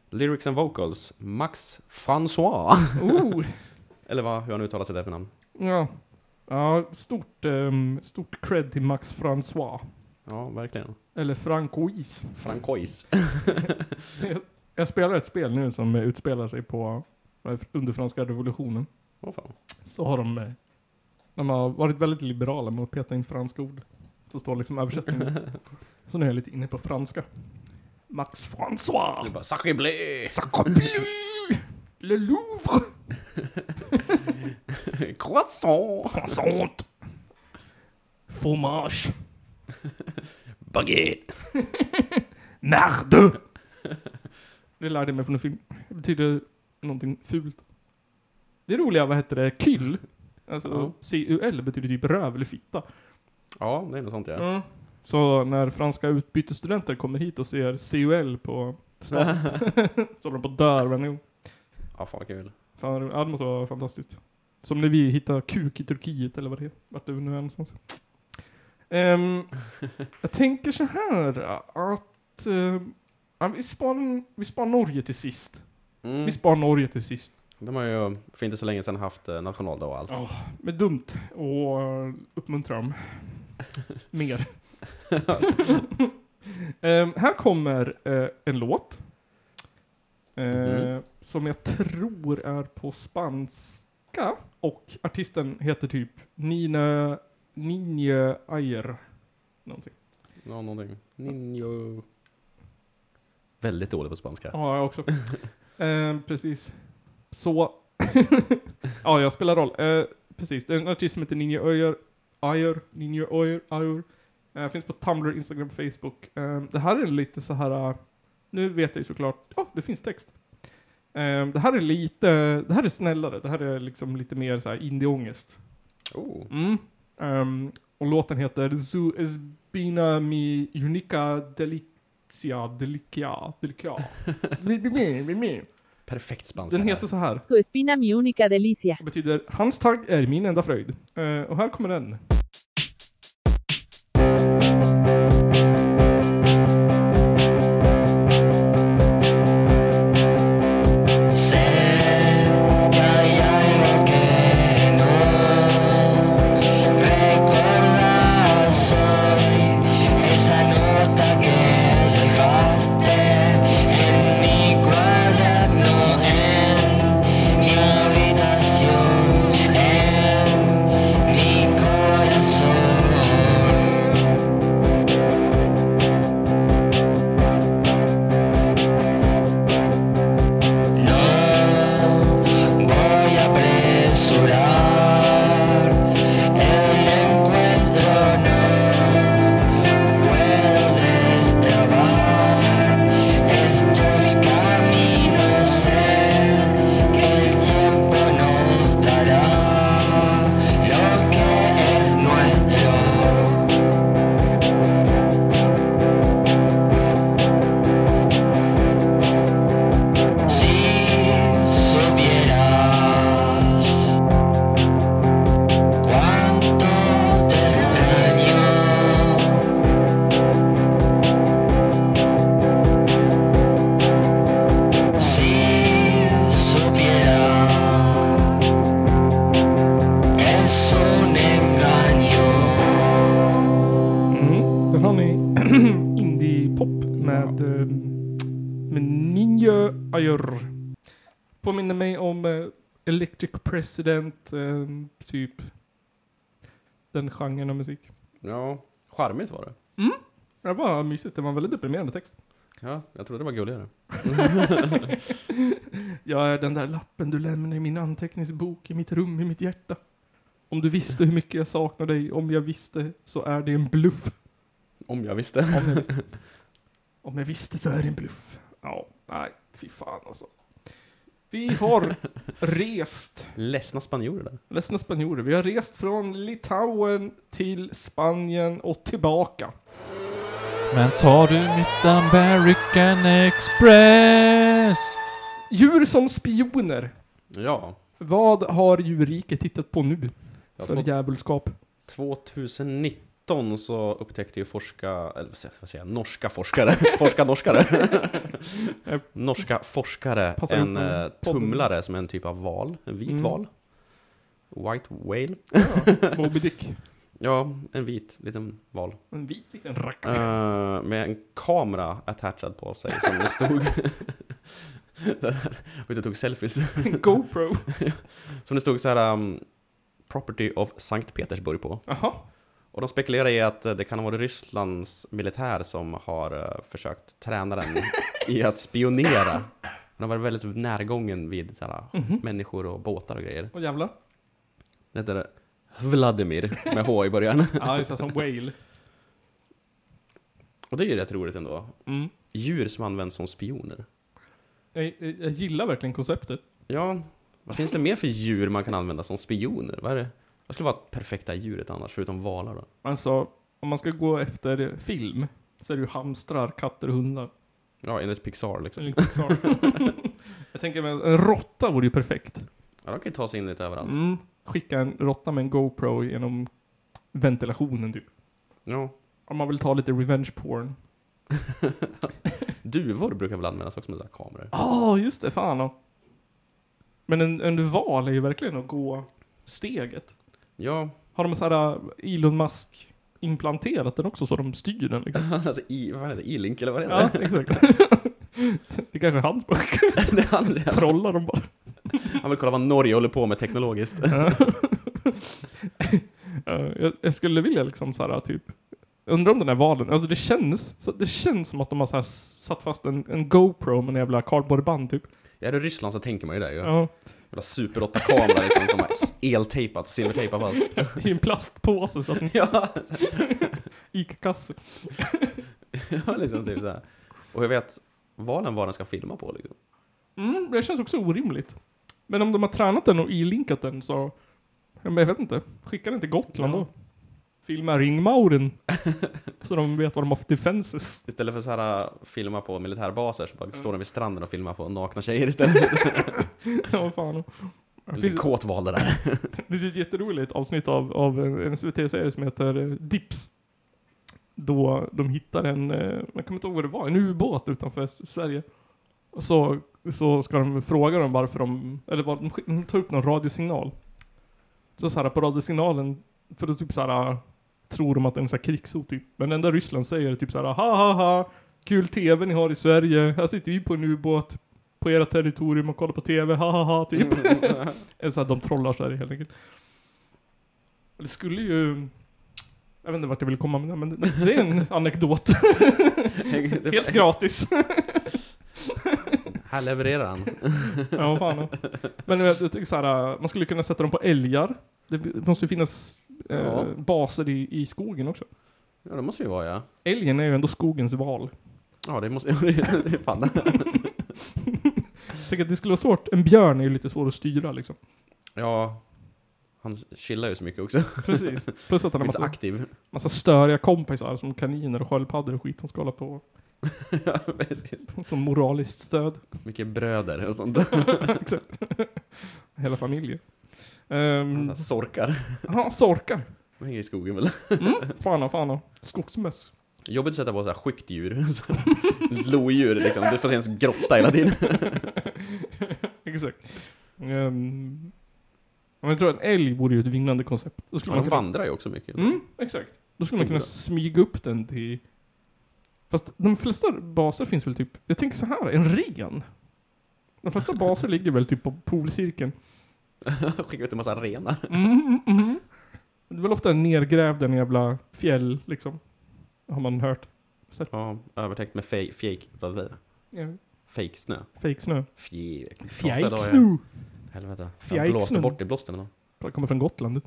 Lyrics and Vocals, Max François.
Oh!
Eller vad, hur han uttalar sitt efternamn.
Ja. Ja, stort, ehm, stort cred till Max Francois.
Ja, verkligen.
Eller Francois.
Francois.
Jag spelar ett spel nu som eh, utspelar sig på eh, under franska revolutionen.
Åh fan.
Så har de, eh, de har varit väldigt liberala med att peta in franska ord. Så står liksom översättningen. Så nu är jag lite inne på franska. Max Francois.
Det är bara Sacré bleu!
Le Louvre.
Croissant!
Croissant. Fromage.
Baguette!
Merde! Det lärde jag mig från en film. Det betyder någonting fult. Det roliga, vad heter det, kyll? Alltså,
Ja.
CUL betyder typ röv eller fitta.
Ja, det är något sånt ja.
Mm. Så när franska utbytesstudenter kommer hit och ser CUL på stan, så håller de på att dö varje gång.
Ja, fan vad kul.
Fan, ja, det måste vara fantastiskt. Som när vi hittade kuk i Turkiet eller vad det är. Vart det nu är någonstans. Ehm, jag tänker så här att... ehm, ja, vi, spar, vi spar Norge till sist.
Mm.
Vi spar Norge till sist.
De har ju för inte så länge sedan haft eh, nationaldag och allt.
Ja. Men dumt och uppmuntra dem. Mer. Ehm, här kommer eh, en låt. eh,
Mhm.
Som jag tror är på spanska. Och artisten heter typ Nina Ninje Ayer. Någonting.
Ja, någonting. Ninjo. Väldigt dålig på spanska.
Ja, jag också. Ehm, precis. Så... ja, jag spelar roll. Eh, precis, det är en artist som heter Ninja Öjer. Ayer, Ninja Öjer, Ayer. Eh, finns på Tumblr, Instagram, Facebook. Ehm, det här är lite så här... eh, nu vet jag ju såklart... Ja, det finns text. Ehm, det här är lite... Det här är snällare. Det här är liksom lite mer så här indie-ångest.
Oh.
Mm. Ehm, och låten heter Zu Esbina Mi Unica Delicia Delicia Delicia.
Perfekt spanska.
Den
här.
heter så här.
Su espina mi única delicia.
Och betyder Hans tagg är min enda fröjd. Eh, och här kommer den. Mm. Där har ni indie-pop med, eh, med Ninja Ayur. Påminner mig om eh, Electric President, eh, typ den genren av musik.
Ja, charmigt var det.
Det var mysigt, det var en väldigt deprimerande text.
Ja, jag trodde det var gulligare.
Jag är den där lappen du lämnar i min anteckningsbok, i mitt rum, i mitt hjärta. Om du visste hur mycket jag saknar dig, om jag visste så är det en bluff.
Om jag visste.
Om jag visste, om jag visste så är det en bluff. Ja, nej, fy fan alltså. Vi har rest,
Ledsna spanjorer där.
ledsna spanjorer, vi har rest från Litauen till Spanien och tillbaka.
Men tar du mitt American Express?
Djur som spioner.
Ja.
Vad har djurriket tittat på nu
Jag
för
tror
djävulskap?
2019 så upptäckte ju forska, eller vad säger- vad säger jag, norska forskare, forska norskare. norska forskare,
Passar
en
ihop med
eh,
podden.
tumlare som är en typ av val, en vit
Mm.
val. White whale.
Moby Dick.
Ja, en vit liten val.
En vit liten rackare.
Eh, med en kamera attachad på sig som det stod. Den här, och inte tog selfies.
En GoPro.
Som det stod så här um, Property of Sankt Petersburg på.
Jaha.
Och de spekulerar i att eh, det kan ha varit Rysslands militär som har eh, försökt träna den i att spionera. Den har varit väldigt närgången vid så här,
Mhm.
människor och båtar och grejer.
Åh jävlar.
Det heter Vladimir med H i början.
Ja, just det. Som whale.
Och det är ju rätt roligt ändå.
Mm.
Djur som används som spioner.
Jag, jag, jag gillar verkligen konceptet.
Ja, Vad finns det mer för djur man kan använda som spioner? Vad, är det? vad skulle vara perfekta djuret annars, förutom valar då?
Alltså, om man ska gå efter film så är det ju hamstrar, katter och hundar.
Ja, enligt Pixar
Så
liksom.
det är lite Pixar. Jag tänker mig en råtta vore ju perfekt.
Ja, de kan ju ta sig in lite överallt.
Mm. Skicka en råtta med en GoPro genom ventilationen typ.
Ja.
Om man vill ta lite revenge porn.
Duvor brukar väl användas också med sådana här kameror?
Ja, Ah, just det. Fan. ja. Men en, en val är ju verkligen att gå steget.
Ja,
Har de så här äh, Elon Musk implanterat den också så de styr den liksom?
alltså i, vad är det, E-Link eller vad är
Ja,
det?
exakt. Det kanske är hans bok.
det är han, som-
Trollar de bara.
han vill kolla vad Norge håller på med teknologiskt.
Eh, jag, jag skulle vilja liksom så här typ Undrar om den här valen, alltså det känns, så det känns som att de har så här s- satt fast en, en GoPro med en jävla cardboardband typ.
Är det Ryssland så tänker man ju det ju.
Ja,
Jävla super 8-kamera liksom som har s- eltejpat, silvertejpat fast.
I en plastpåse, så att en
ja,
Ica-kasse.
ja, liksom typ såhär. Och jag vet valen vad den ska filma på liksom.
Mm, det känns också orimligt. Men om de har tränat den och ilinkat den så... Ja, men Jag vet inte. Skicka den till Gotland
Ja.
då. Filma ringmauren. så de vet vad de har för defenses.
Istället för såhär filma på militärbaser så bara står den vid stranden och filmar på nakna tjejer istället.
ja, vad fan. Det
Lite
finns,
kåt val det där.
det finns ett jätteroligt avsnitt av, av en SVT-serie som heter eh, Dips. Då de hittar en, eh, jag kommer inte ihåg vad det var, en ubåt utanför S- Sverige. Och så, så ska de fråga dem varför de, eller var, de, skick- de tar upp någon radiosignal. Så, så här på radiosignalen, för då typ så här tror de att det är en så här krigshot typ. Men det enda Ryssland säger är typ så här ha ha ha, kul tv ni har i Sverige, här sitter vi på en ubåt på era territorium och kollar på tv, ha ha ha typ. Eller så här, de trollar Sverige helt enkelt. Det skulle ju, jag vet inte vart jag vill komma med det, men det, det är en anekdot.
Det-
helt gratis.
Här levererar han.
Ja, vad fan. ja. Men jag, jag tycker så här, äh, man skulle kunna sätta dem på älgar. Det b- måste ju finnas eh,
Ja.
baser i, i skogen också.
Ja det måste ju vara ja.
Älgen är ju ändå skogens val.
Ja det måste, ja, det det är fan.
Jag tänker att det skulle vara svårt. En björn är ju lite svår att styra liksom.
Ja. Han chillar ju så mycket också.
Precis. Plus att han har
Han är inte så
massa,
aktiv.
massa störiga kompisar som kaniner och sköldpaddor och skit som ska hålla på.
Ja, precis.
Som moraliskt stöd.
Mycket bröder och sånt.
Exakt. Hela familjen. Um,
Såhär Sorkar.
ja, sorkar.
De hänger i skogen väl.
Fan, ja, fan. ja. Skogsmöss.
Jobbigt att sätta på så här skyggt-djur. Så- Lodjur liksom. Du får se en grotta hela tiden.
Exakt. Um, jag tror en älg vore ju ett vinnande koncept. Då skulle
Ja,
man
de
kunna,
vandrar ju också mycket.
mm, exakt. Då skulle man kunna
Stora.
smyga upp den till... Fast de flesta baser finns väl typ... Jag tänker så här, en ren. De flesta baser ligger väl typ på polcirkeln.
Skickar ut en massa renar.
Mm, mm, mm. Det är väl ofta nergrävd en jävla fjäll, liksom. Har man hört.
Ja, övertäckt med fake, fake, vad är det?
Ja,
Fake snö.
Fake snö.
Fjäk.
Fjäjksnö.
Helvete. Jag
Fjäksnö.
blåste bort i blåsten idag.
Det kommer från Gotland.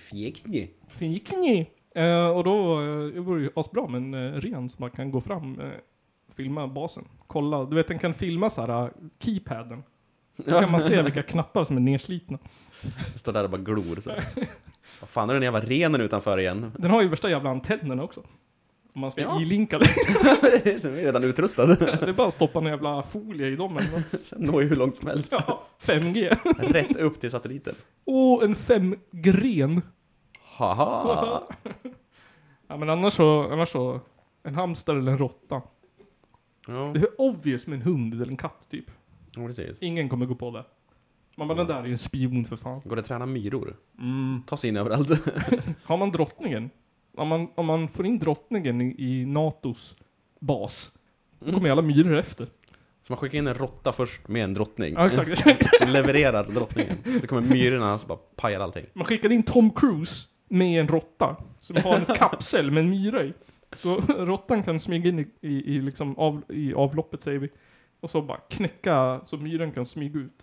Fjäksnö.
Fikni. Eh, och då, eh, det vore ju asbra med en eh, ren som man kan gå fram, eh, filma basen, kolla. Du vet den kan filma så här, eh, keypaden. Då kan man se vilka knappar som är nerslitna.
Står där och bara glor så. Vad fan är den jävla renen utanför igen?
Den har ju värsta jävla antennerna också. Om man ska
Ja.
ilinka det.
Den är redan utrustad.
Det är bara att stoppa en jävla folie i dem. eller nåt.
Sen når ju hur långt som helst.
Ja, 5G.
Rätt upp till satelliten.
Och en femgren.
Haha!
Ja men annars så, annars så, en hamster eller en råtta.
Ja,
Det är obvious med en hund eller en katt typ.
ja, precis.
Ingen kommer gå på det. Man bara, den där är ju en spion för fan.
Går det att träna myror?
Mm.
Ta sig in överallt.
Har man drottningen, om man, om man får in drottningen i, i NATOs bas, då kommer alla myror efter.
Så man skickar in en råtta först med en drottning.
Ja, exakt, exakt.
Levererar drottningen. Så kommer myrorna och så bara pajar allting.
Man skickar in Tom Cruise med en råtta som har en kapsel med en myra i. Så råttan kan smyga in i, i, i, liksom av, i avloppet, säger vi. Och så bara knäcka så myran kan smyga ut.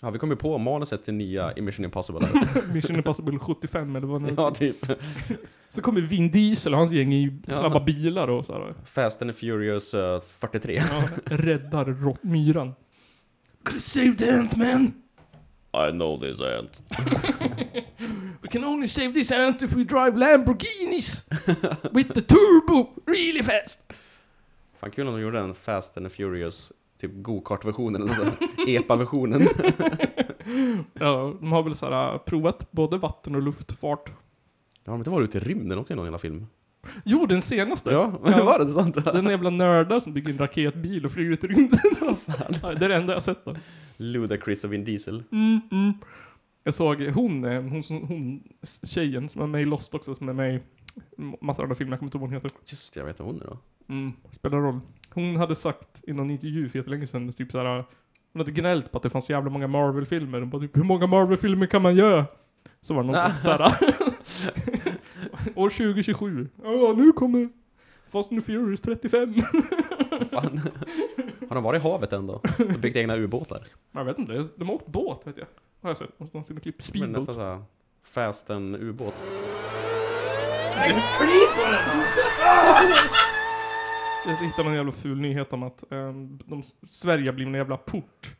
Ja, vi kom ju på manuset till nya i Mission Impossible.
Mission Impossible 75 eller vad det
ja,
är.
typ.
Så kommer Vin Diesel och hans gäng i
Ja.
snabba bilar och så här.
Fast and Furious eh, 43.
Ja, räddar rå- myran. Could have saved Ant-Man!
I know this ant.
We can only save this ant if we drive Lamborghinis with the turbo really fast.
Fan kul om de gjorde en Fast and the Furious, typ go-kart-versionen eller nåt sånt. EPA-versionen.
Ja, de har väl så här, äh, provat både vatten och luftfart.
Har de inte varit ute i rymden också i någon jävla film?
Jo, den senaste.
Ja, men var det sant?
Den jävla nördar som bygger en raketbil och flyger ut i rymden. Ja, det är det enda jag sett då.
Ludacris och Vin Diesel.
Mm, mm. Jag såg hon, eh, hon, som- hon, s- tjejen som är med i Lost också, som är med i m- massa andra filmer, jag kommer inte ihåg vad hon heter.
Just det, jag vet vad hon är då.
Mm, spelar roll. Hon hade sagt i någon intervju för jättelänge sedan, typ så här, hon hade gnällt på att det fanns så jävla många Marvel-filmer. Hon bara typ, hur många Marvel-filmer kan man göra? Så var det någon
Alltså,
som såhär, år 2027, ja nu kommer Fast and Furious 35.
Fan. Har de varit i havet än då? Och byggt egna ubåtar?
jag vet inte, de har åkt båt vet jag. Har jag sett någonstans i något klipp.
Men alltså-
Speedboat.
nästan såhär, Fast and ubåt.
Jag hittade någon jävla ful nyhet om att ehm, de, Sverige har blivit en jävla port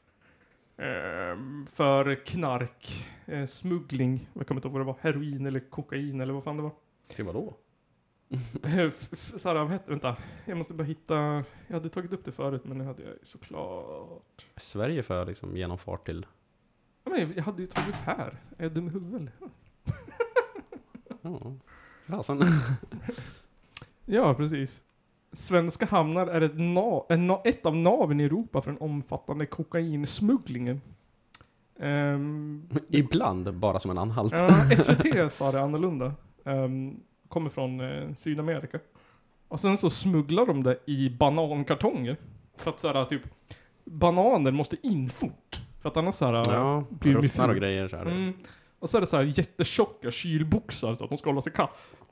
ehm, för knark, eh, smuggling, jag kommer inte ihåg vad det var, heroin eller kokain eller vad fan det var.
Till vadå?
Eh, F- f- Såhär, vad hette, vänta, jag måste bara hitta, jag hade tagit upp det förut men nu hade jag ju såklart.
Är Sverige för liksom genomfart till...
Ja, men jag hade ju tagit upp här, är det med huvud?
Ja. Fasen.
Ja, precis. Svenska hamnar är ett, nav, en, na- ett av naven i Europa för den omfattande kokainsmugglingen. Ehm,
Ibland bara som en anhalt.
Ja, SVT sa det annorlunda. Ehm, kommer från eh, Sydamerika. Och sen så smugglar de det i banankartonger. För att såhär typ, bananer måste in fort. För att annars såhär,
Ja,
blir de ju
ruttnar och
ful.
grejer såhär.
Mm. Och så är det såhär jättetjocka kylboxar så att de ska hålla sig kall.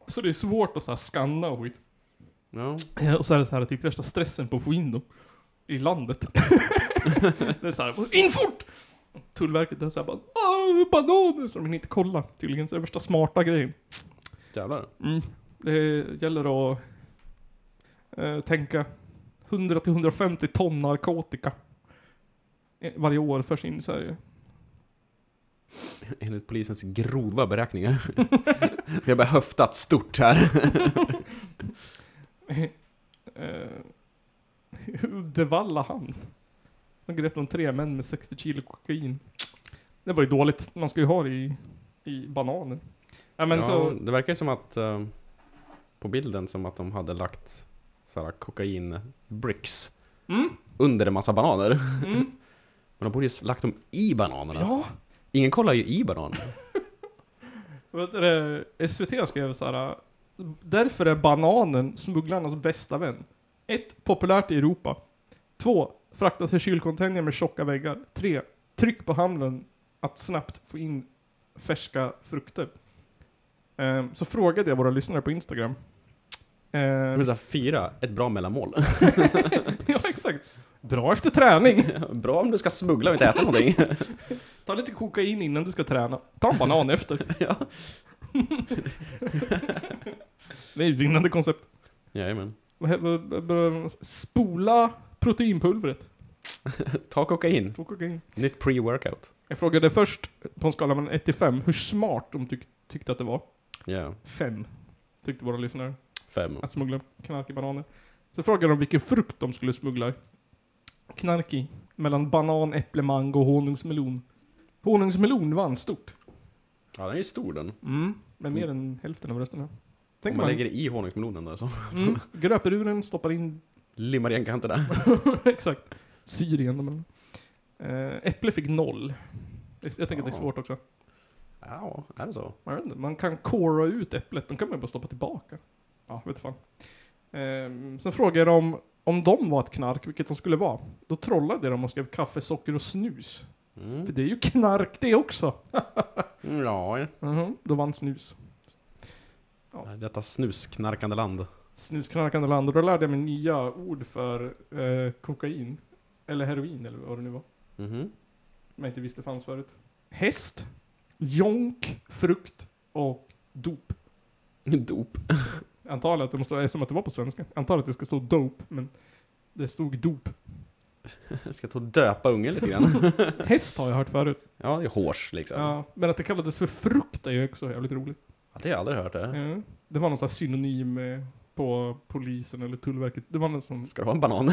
Så det är svårt att såhär skanna och skit.
Ja.
Eh, Och så är det så här typ värsta stressen på att få in dem i landet. det är så här, in fort! Tullverket är så här bara, "Åh, bananer! Så de hinner inte kolla. Tydligen så är det värsta smarta grejen.
Jävlar.
Det gäller att eh, tänka 100-150 ton narkotika eh, varje år förs in i Sverige.
Enligt polisens grova beräkningar. Vi har bara höftat stort här.
Eh, Uddevalla hamn. De grep de tre män med 60 kilo kokain. Det var ju dåligt. Man ska ju ha det i, i bananen. Ja, men
ja,
så,
Det verkar ju som att eh, på bilden som att de hade lagt såhär kokain-bricks
Mm.
under en massa bananer. Men de borde ju lagt dem i bananerna.
ja. Mm.
Ingen kollar ju i bananen.
Vet du, det, SVT skrev så här. Därför är bananen smugglarnas bästa vän. 1. Populärt i Europa. 2. Fraktas i kylcontainer med tjocka väggar. 3. Tryck på hamnen att snabbt få in färska frukter. Ehm, så frågade jag våra lyssnare på Instagram. Ehm,
Men såhär, fyra, ett bra mellanmål.
ja, exakt. Bra efter träning.
bra om du ska smuggla och inte äta någonting.
Ta lite kokain innan du ska träna. Ta en banan efter.
Ja.
Det är ju ett vinnande koncept.
Jajamän.
Vad he- vad- vad- vad- Spola proteinpulvret.
Ta kokain.
Två kokain.
Nytt pre-workout.
Jag frågade först på en skala mellan 1 till 5 hur smart de tyck tyckte att det var.
Ja,
5 tyckte våra lyssnare
fem.
att smuggla knark i bananer. Så frågade de vilken frukt de skulle smuggla knark i. Mellan banan, äpple, mango och honungsmelon. Honungsmelon vann stort.
Ja, den är ju stor den. Om
Mm. Med mer än hälften av rösterna. Tänk
man,
man,
lägger det i honungsmelonen då så.
mm, gröper ur den, stoppar in
Limmar igen kanterna.
Exakt. Syrien. Men. Eh, äpple fick noll. Det är- Jag tänker att det är
Ja.
svårt också.
Ja, är det så?
Man, vet inte, man kan kora ut äpplet, de kan man ju bara stoppa tillbaka. Ja, vet fan. Ehm, sen frågade jag dem om de var ett knark, vilket de skulle vara. Då trollade de och skrev kaffe, socker och snus.
Mm.
För det är ju knark det också.
Ja, ja.
Mhm, Då vann snus.
detta snusknarkande land.
Snusknarkande land. Och då lärde jag mig nya ord för eh, kokain. Eller heroin eller vad det nu var.
Mhm.
man inte visste fanns förut. Häst, jonk, frukt och dop.
Dop.
Antalet, det måste vara som att det var på svenska. Antalet det ska stå dope, men det stod dop.
Jag ska ta och döpa ungen lite grann.
Häst har jag hört förut.
Ja, det är hårs liksom. Ja.
Ja, men att det kallades för frukt är ju också jävligt roligt.
det har jag aldrig hört det.
Ja. Det var någon sån här synonym eh, på polisen eller tullverket. Det var någon sån...
Ska det vara en banan?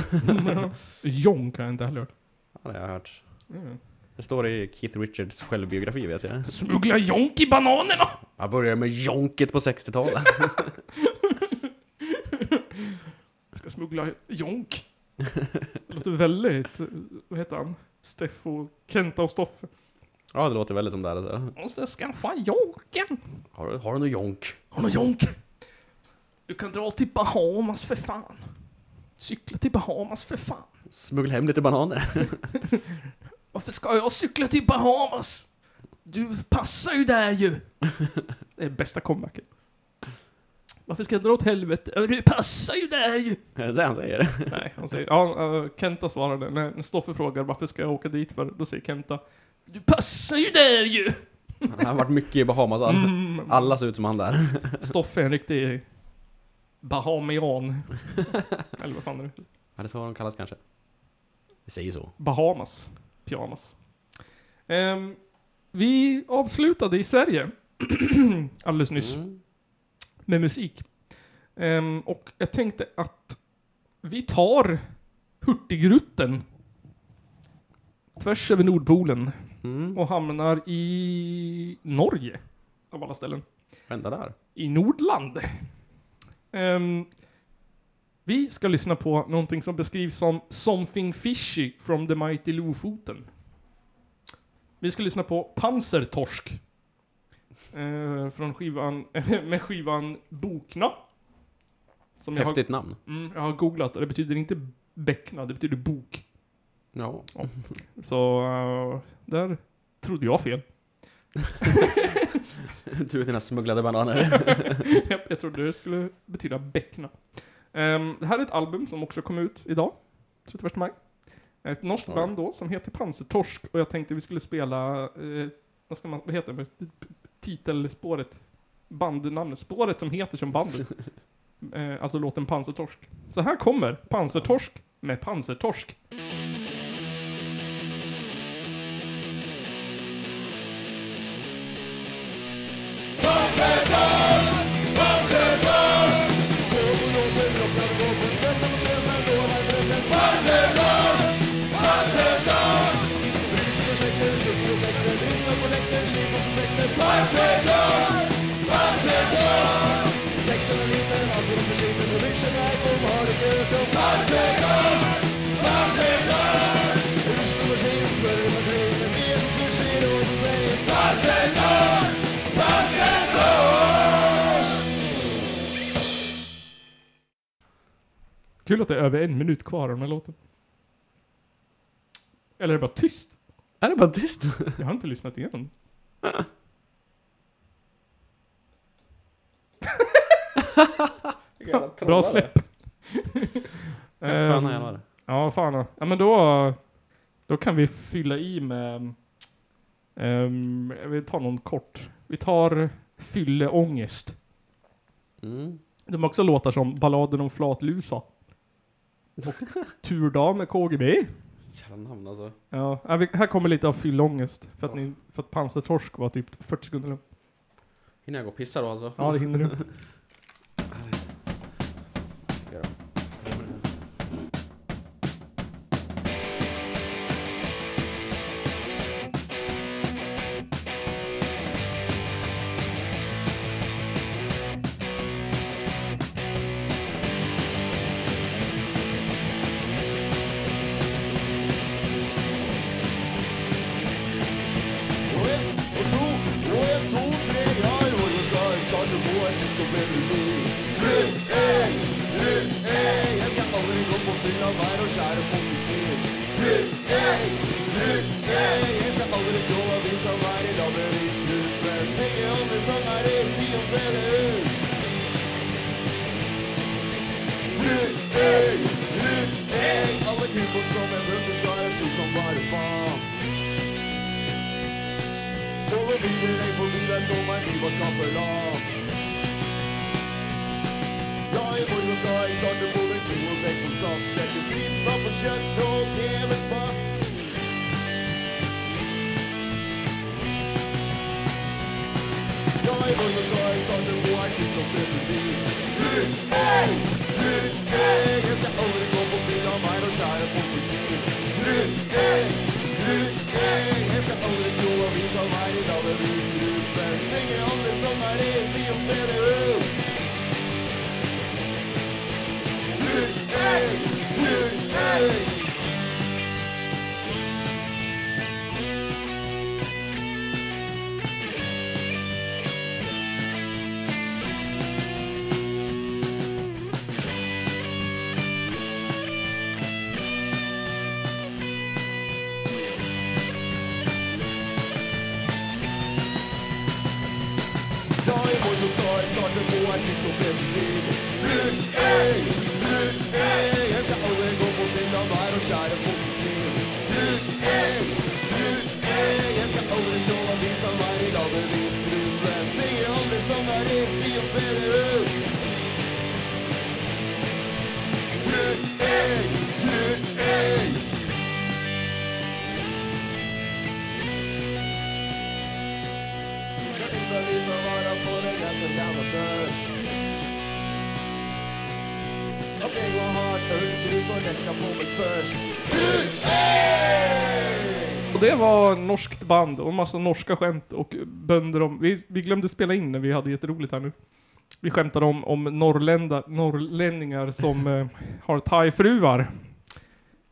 Jonk har jag inte heller hört.
Ja, det har jag hört.
Mm.
Det står i Keith Richards självbiografi vet jag.
Smuggla jonk i bananerna!
Han började med jonket på 60-talet.
Jag ska smuggla jonk. Det låter väldigt... eh, Vad heter han? Steffo... Kenta och Stoffe.
Ja, det låter väldigt som det här. alltså.
Måste skaffa jonken.
Har du, har du någon jonk?
Har du jonk? Du kan dra till Bahamas för fan. Cykla till Bahamas för fan.
Smuggla hem lite bananer.
Varför ska jag cykla till Bahamas? Du passar ju där ju! Det är bästa comebacken. Varför ska jag dra åt helvete? Ja, Du passar ju där ju!
Är det det han säger?
Nej, han säger... Ja, eh, Kenta svarade. När när Stoffe frågar varför ska jag åka dit för? Då säger Kenta. Du passar ju där ju!
Han har varit mycket i Bahamas. Alla,
Mm.
alla ser ut som han där.
Stoffe är en riktig bahamian. Eller vad fan är det?
Ja, det är så de kallas kanske. Vi säger så.
Bahamas. Pyjamas. Ehm, vi avslutade i Sverige alldeles nyss
Mm.
med musik. Ehm, och jag tänkte att vi tar Hurtigruten tvärs över Nordpolen
Mm.
och hamnar i Norge av alla ställen.
Vända där.
I Nordland. Ehm, vi ska lyssna på någonting som beskrivs som Something Fishy from the Mighty Lofoten. Vi ska lyssna på Pansertorsk. Eh, från skivan, med skivan Bokna. Som jag har,
Häftigt namn.
mm, jag har googlat och det betyder inte bäckna, det betyder bok.
Ja.
Så eh, där trodde jag fel.
Du och dina smugglade bananer.
Japp, jag trodde det skulle betyda bäckna. Ehm, det här är ett album som också kom ut idag, 31 maj. Ett norskt
Oj.
band då som heter Pansertorsk och jag tänkte vi skulle spela, eh, vad, ska man, vad heter det, titelspåret, bandnamnet, spåret som heter som bandet. eh, alltså låten Pansertorsk. Så här kommer Pansertorsk med Pansertorsk. Kul att det är över en minut kvar av den här låten. Eller är det bara tyst?
är det bara tyst?
Jag har inte lyssnat igenom. Bra släpp.
Sköna
Ehm,
jävlar.
ja, fan. Ja, men då, då kan vi fylla i med... Um, vi tar någon kort. Vi tar Fylleångest.
Mm.
De har också låtar som Balladen om flatlusa. Och Turdag med KGB.
Jävla namn alltså.
Ja, ja, vi- här kommer lite av Fylleångest. För att, ni, för att Pansertorsk var typ 40 sekunder lång.
Hinner jag gå och pissa då alltså?
Ja, det hinner du.
Jag är full och ska i starten på en god uppväxt som saft Läcker skritt bakom
kött och tv-spott. Jag är bunden så jag är staden på akut och blev förbi. Tryck nej, tryck nej. Jag ska aldrig gå på fylla av mig och kära på mitt liv. Tryck nej, tryck nej. Jag ska aldrig stå och visa mig i Davids hus. Men singer om det som är det, Sions bedehus. Tryck nej, tryck nej. Jag är vår motor, starten på ett nytt och bättre liv Tryck ej, tryck ej Jag ska aldrig gå på vind av här och kära på mitt liv Tryck ej, tryck ej Jag ska aldrig stå och visa varje dag med livs rus Men säger om det som är det, Sions bedehus Tryck ej, tryck ej Jag litar lite vara på den där som gammal törs Okej, jag har ett ölkris och jag ska på mig först Tryck ej!
Och det var norskt band och en massa norska skämt och bönder om... Vi, vi glömde spela in när vi hade jätteroligt här nu. Vi skämtade om, om norrlända, norrlänningar som eh, har thai-fruar.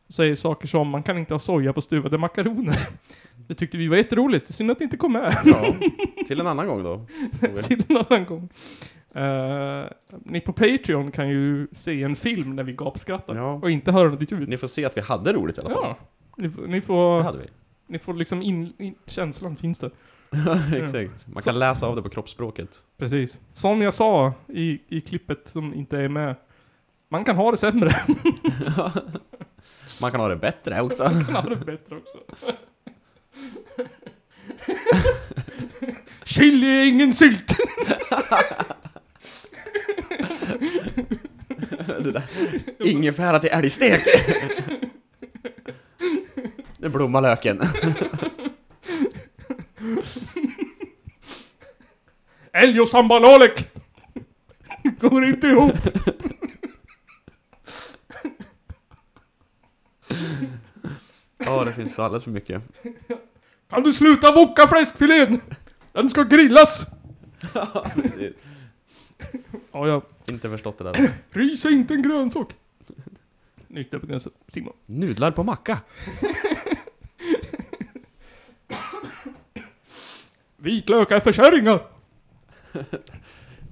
Säger saker som man kan inte ha soja på stuvade makaroner. Det tyckte vi var jätteroligt. Synd att det inte kom med.
Ja. Till en annan gång då. får vi.
till en annan gång. Eh, ni på Patreon kan ju se en film när vi gapskrattar
Ja.
och inte höra något ljud.
Ni får se att vi hade roligt i alla fall.
Ja. Ni, f- ni
Det
får,
hade vi.
ni får liksom in, in, känslan finns där.
Exakt. Man kan läsa av det på kroppsspråket.
Precis. Som jag sa i, i klippet som inte är med. Man kan ha det sämre,
Man kan ha det bättre också.
man kan ha det bättre också. Chili är ingen sylt!
Det där. Ingefära till älgstek! Nu blommar löken.
Älg och sambalalek! Går inte ihop!
Ja, det finns alldeles för mycket.
Kan du sluta woka fläskfilén? Den ska grillas! ja, jag
Inte förstått det där.
ryser inte en grönsak. Nykter på gränsen. Simon.
Nudlar på macka.
Vitlök är för kärringar!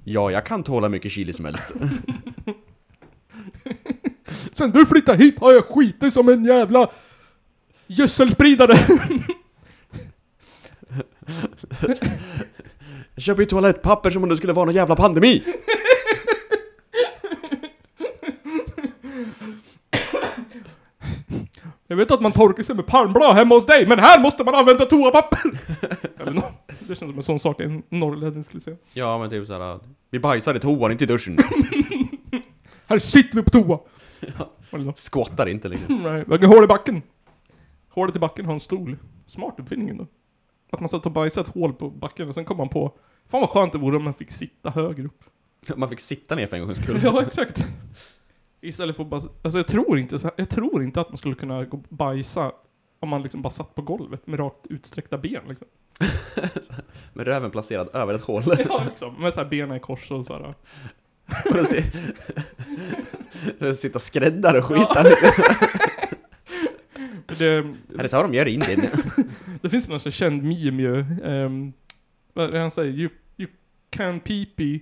Ja, jag kan tåla mycket chili som helst.
Sen du flyttade hit har jag skitit som en jävla gödselspridare.
Jag köper ju toalettpapper som om det skulle vara någon jävla pandemi!
Jag vet att man torkar sig med palmblad hemma hos dig, men här måste man använda toapapper! Jag vet inte. det känns som en sån sak en norrlänning skulle säga.
Ja, men typ såhär... Vi bajsar i toan, inte i duschen.
Här sitter vi på toa! Eller nåt.
Skåtar inte liksom.
Mm, Nej, vi har hål i backen. Hålet i backen har en stol. Smart uppfinning ändå. Att man satt och bajsade ett hål på backen och sen kom man på Fan vad skönt det vore om man fick sitta högre upp.
Man fick sitta ner för en gångs skull.
Ja, exakt. Istället för att bara... Alltså jag tror inte, så- jag tror inte att man skulle kunna gå och bajsa om man liksom bara satt på golvet med rakt utsträckta ben liksom.
Med röven placerad över ett hål.
Ja, liksom. Med så här benen i kors och så här.
Och den se- den Sitta skräddar och skita lite.
Det,
Är det så de gör i Indien?
det finns en sån här känd meme ju. ehm, vad är det han säger? You, you can pee-pee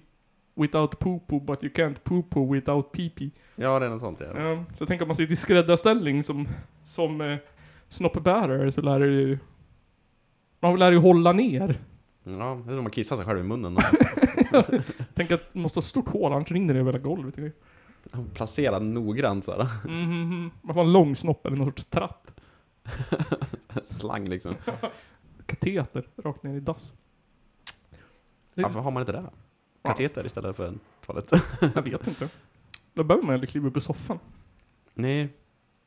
without poo-poo but you can't poo-poo without pee-pee.
Ja, det är något sånt ja.
Ja, så tänk om man sitter i skräddarställning som, som eh, snoppebärare så lär det ju... Man lär ju hålla ner.
Ja, det är som man kissar sig själv i munnen. Och
Tänk att man måste ha ett stort hål, annars rinner det över hela golvet. Mm,
placerad noggrant såhär.
mm, mm. man får en lång snopp eller någon sorts tratt.
Slang liksom.
Kateter rakt ner i dass.
Varför har man inte det? Kateter istället för en toalett.
Jag vet inte. Då behöver man aldrig kliva upp i soffan.
Nej,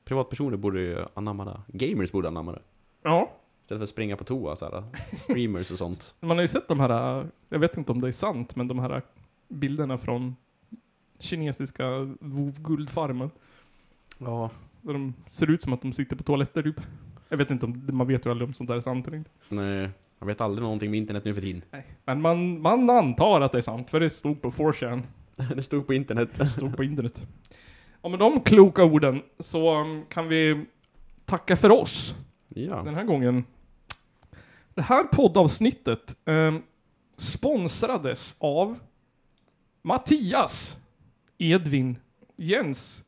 Privatpersoner borde ju anamma det. Gamers borde anamma det.
Ja,
Istället för att springa på toa så här. Streamers och sånt.
man har ju sett de här, jag vet inte om det är sant, men de här bilderna från kinesiska guldfarmen.
Ja.
Där de ser ut som att de sitter på toaletter typ. Jag vet inte om, man vet ju aldrig om sånt där är sant eller inte.
Nej, jag vet aldrig någonting med internet nu för tiden.
Nej. Men man, man antar att det är sant, för det stod på 4chan.
Det stod på internet.
stod på internet. Ja, med de kloka orden så um, kan vi tacka för oss
Ja.
den här gången. Det här poddavsnittet um, sponsrades av Mattias, Edvin, Jens,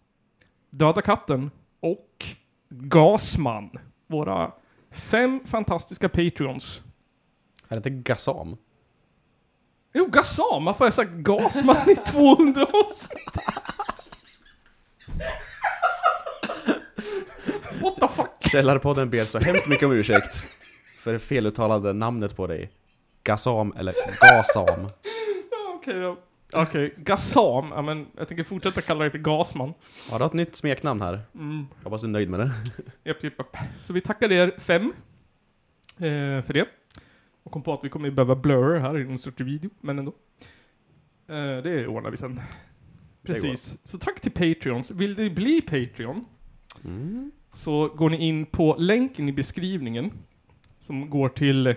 Döda katten och Gasman. Våra fem fantastiska patreons.
Är det inte Gazam?
Jo, Gazam! Varför har jag sagt Gasman i 200 avsnitt? What the fuck?
Källarpodden ber så hemskt mycket om ursäkt för det feluttalade namnet på dig. Gazam eller Gazam.
Ja, Okej då. Okej, Gazam. Ja, men jag tänker fortsätta kalla dig för Gasman.
Har du har ett nytt smeknamn här?
Mm.
Hoppas du är nöjd med det.
Japp, japp, japp. Så vi tackar er fem eh, för det. Och kom på att vi kommer ju behöva blur här i någon sorts video, men ändå. Eh, det ordnar vi sen. Precis. Så tack till Patreons. Vill ni bli Patreon
Mm.
så går ni in på länken i beskrivningen som går till eh,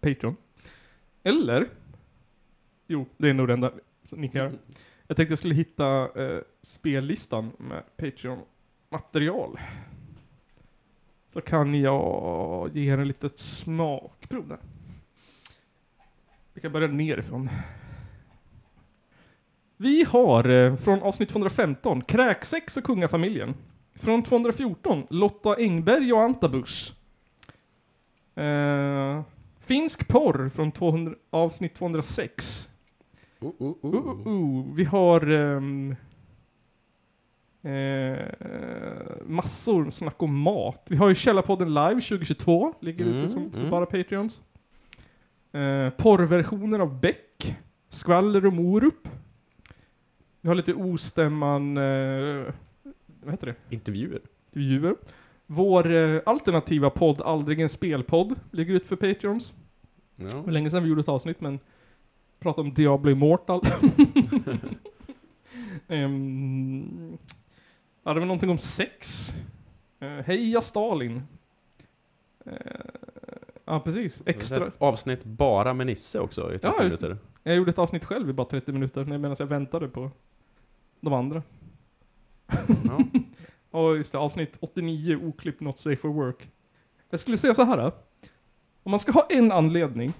Patreon. Eller, jo, det är nog det enda som ni kan göra. Jag tänkte jag skulle hitta eh, spellistan med Patreon-material. Så kan jag ge er en litet smakprov där. Vi kan börja nerifrån. Vi har eh, från avsnitt 215 Kräksex och Kungafamiljen. Från 214 Lotta Engberg och Antabus. Eh, finsk porr från 200, avsnitt 206.
Oh, oh,
Uh,
oh.
uh, uh. Vi har ehm, eh, massor snack om mat. Vi har ju Källarpodden live 2022, ligger
Mm,
ute som för
mm.
bara Patreons. Eh, porrversioner av Beck, Skvaller och Morup. Vi har lite ostämman, eh, vad heter det,
Intervjuer.
intervjuer. Vår eh, alternativa podd, Aldrig en spelpodd, ligger ute för Patreons. Det
Ja.
var länge sedan vi gjorde ett avsnitt, men pratade om Diablo Immortal. um, ja, det var någonting om sex. Eh, heja Stalin. Eh, ja, precis. Extra.
Ett avsnitt bara med Nisse också i 30
Ja,
minuter.
Jag gjorde ett avsnitt själv i bara 30 minuter när- medan jag väntade på de andra.
Ja.
Och just det, avsnitt 89, oklippt Not Safe for Work. Jag skulle säga så här. eh. Om man ska ha en anledning.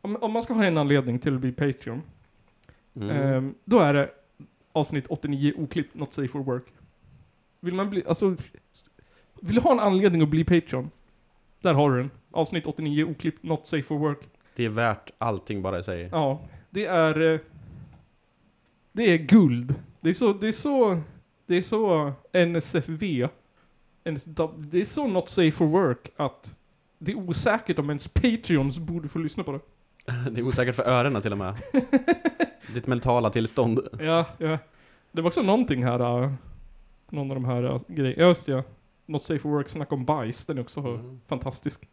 Om, om man ska ha en anledning till att bli Patreon.
Mm.
Ehm, då är det avsnitt 89 oklippt, not safe for work. Vill man bli, alltså, vill du ha en anledning att bli Patreon? Där har du den. Avsnitt 89 oklippt, not safe for work.
Det är värt allting bara i sig.
Ja, det är, eh, det är guld. Det är så, det är så, det är så NSFV, NSW, det är så not safe for work att det är osäkert om ens Patreons borde få lyssna på det.
Det är osäkert för öronen till och med. Ditt mentala tillstånd.
Ja, ja. Det var också någonting här, äh, någon av de här äh, grejerna. Ja, Just det, ja. Not safe for work, snack om bajs, den är också fantastisk.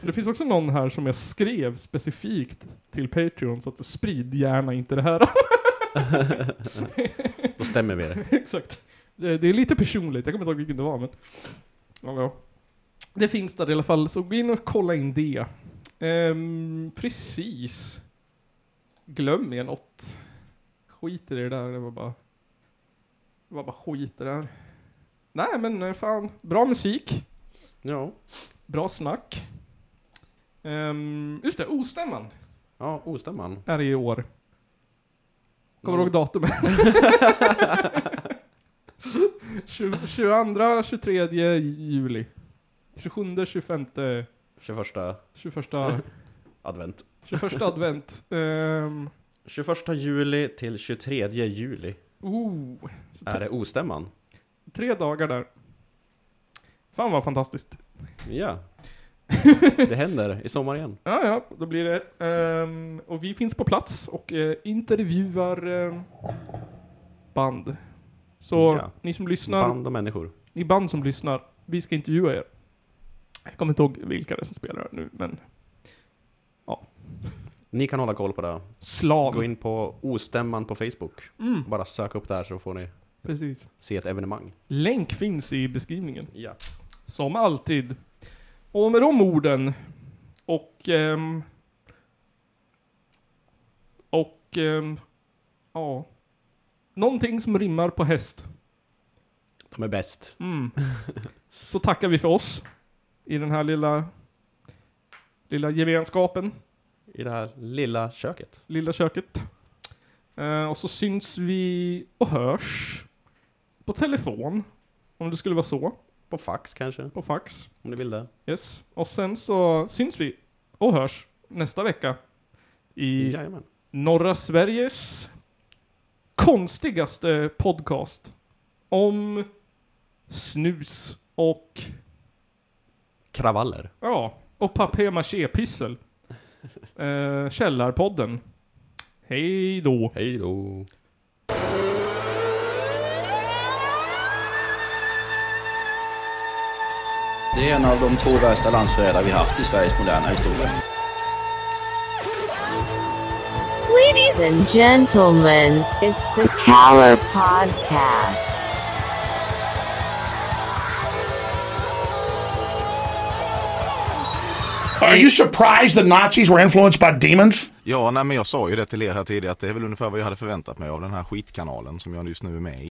Det finns också någon här som jag skrev specifikt till Patreon, så att sprid gärna inte det här.
Då stämmer vi det.
Exakt. Det, det är lite personligt, jag kommer inte ihåg vilken det var men... Ja, ja. Det finns där i alla fall, så gå in och kolla in det. Ehm, precis. Glöm er något. Skit i det där, det var bara... Det var bara skit i det där. Nej men eh, fan, bra musik.
Ja.
Bra snack. Ehm, just det, Ostämman
Ja, ostämman.
är det i år. Kommer du ihåg datumet? 22, 23 juli. 27, 25,
21
21,
advent.
21 advent. Um,
21 juli till 23 juli
oh,
är det ostämman.
tre dagar där. Fan vad fantastiskt.
Ja. Det händer i sommar igen.
Ja, ja, då blir det. Ehm, och vi finns på plats och eh, intervjuar ehm, band. Så
Ja.
ni som lyssnar,
Band och människor.
ni band som lyssnar, vi ska intervjua er. Jag kommer inte ihåg vilka det är som spelar nu, men
Ni kan hålla koll på det.
Slav.
Gå in på ostämman på Facebook.
Mm.
Bara sök upp där så får ni
Precis.
se ett evenemang.
Länk finns i beskrivningen.
Ja.
Som alltid. Och med de orden och... ehm, och... ehm, ja. Någonting som rimmar på häst.
De är bäst.
Mm. Så tackar vi för oss. I den här lilla... Lilla gemenskapen.
I det här lilla köket.
Lilla köket. Eh, och så syns vi och hörs. På telefon. Om det skulle vara så.
På fax kanske,
På fax.
om ni vill det.
Yes, och sen så syns vi och hörs nästa vecka i
Jajamän.
norra Sveriges konstigaste podcast om snus och
Kravaller.
ja, och papier-maché-pyssel. Eh, källarpodden. Hej då.
Hej då.
Det är en av de två värsta landsförrädare vi haft i Sveriges moderna historia.
Ladies and gentlemen, it's the Caller Podcast.
Are you surprised the Nazis were influenced by demons?
Ja, nej, men jag sa ju det till er här tidigare att det är väl ungefär vad jag hade förväntat mig av den här skitkanalen som jag just nu är med i.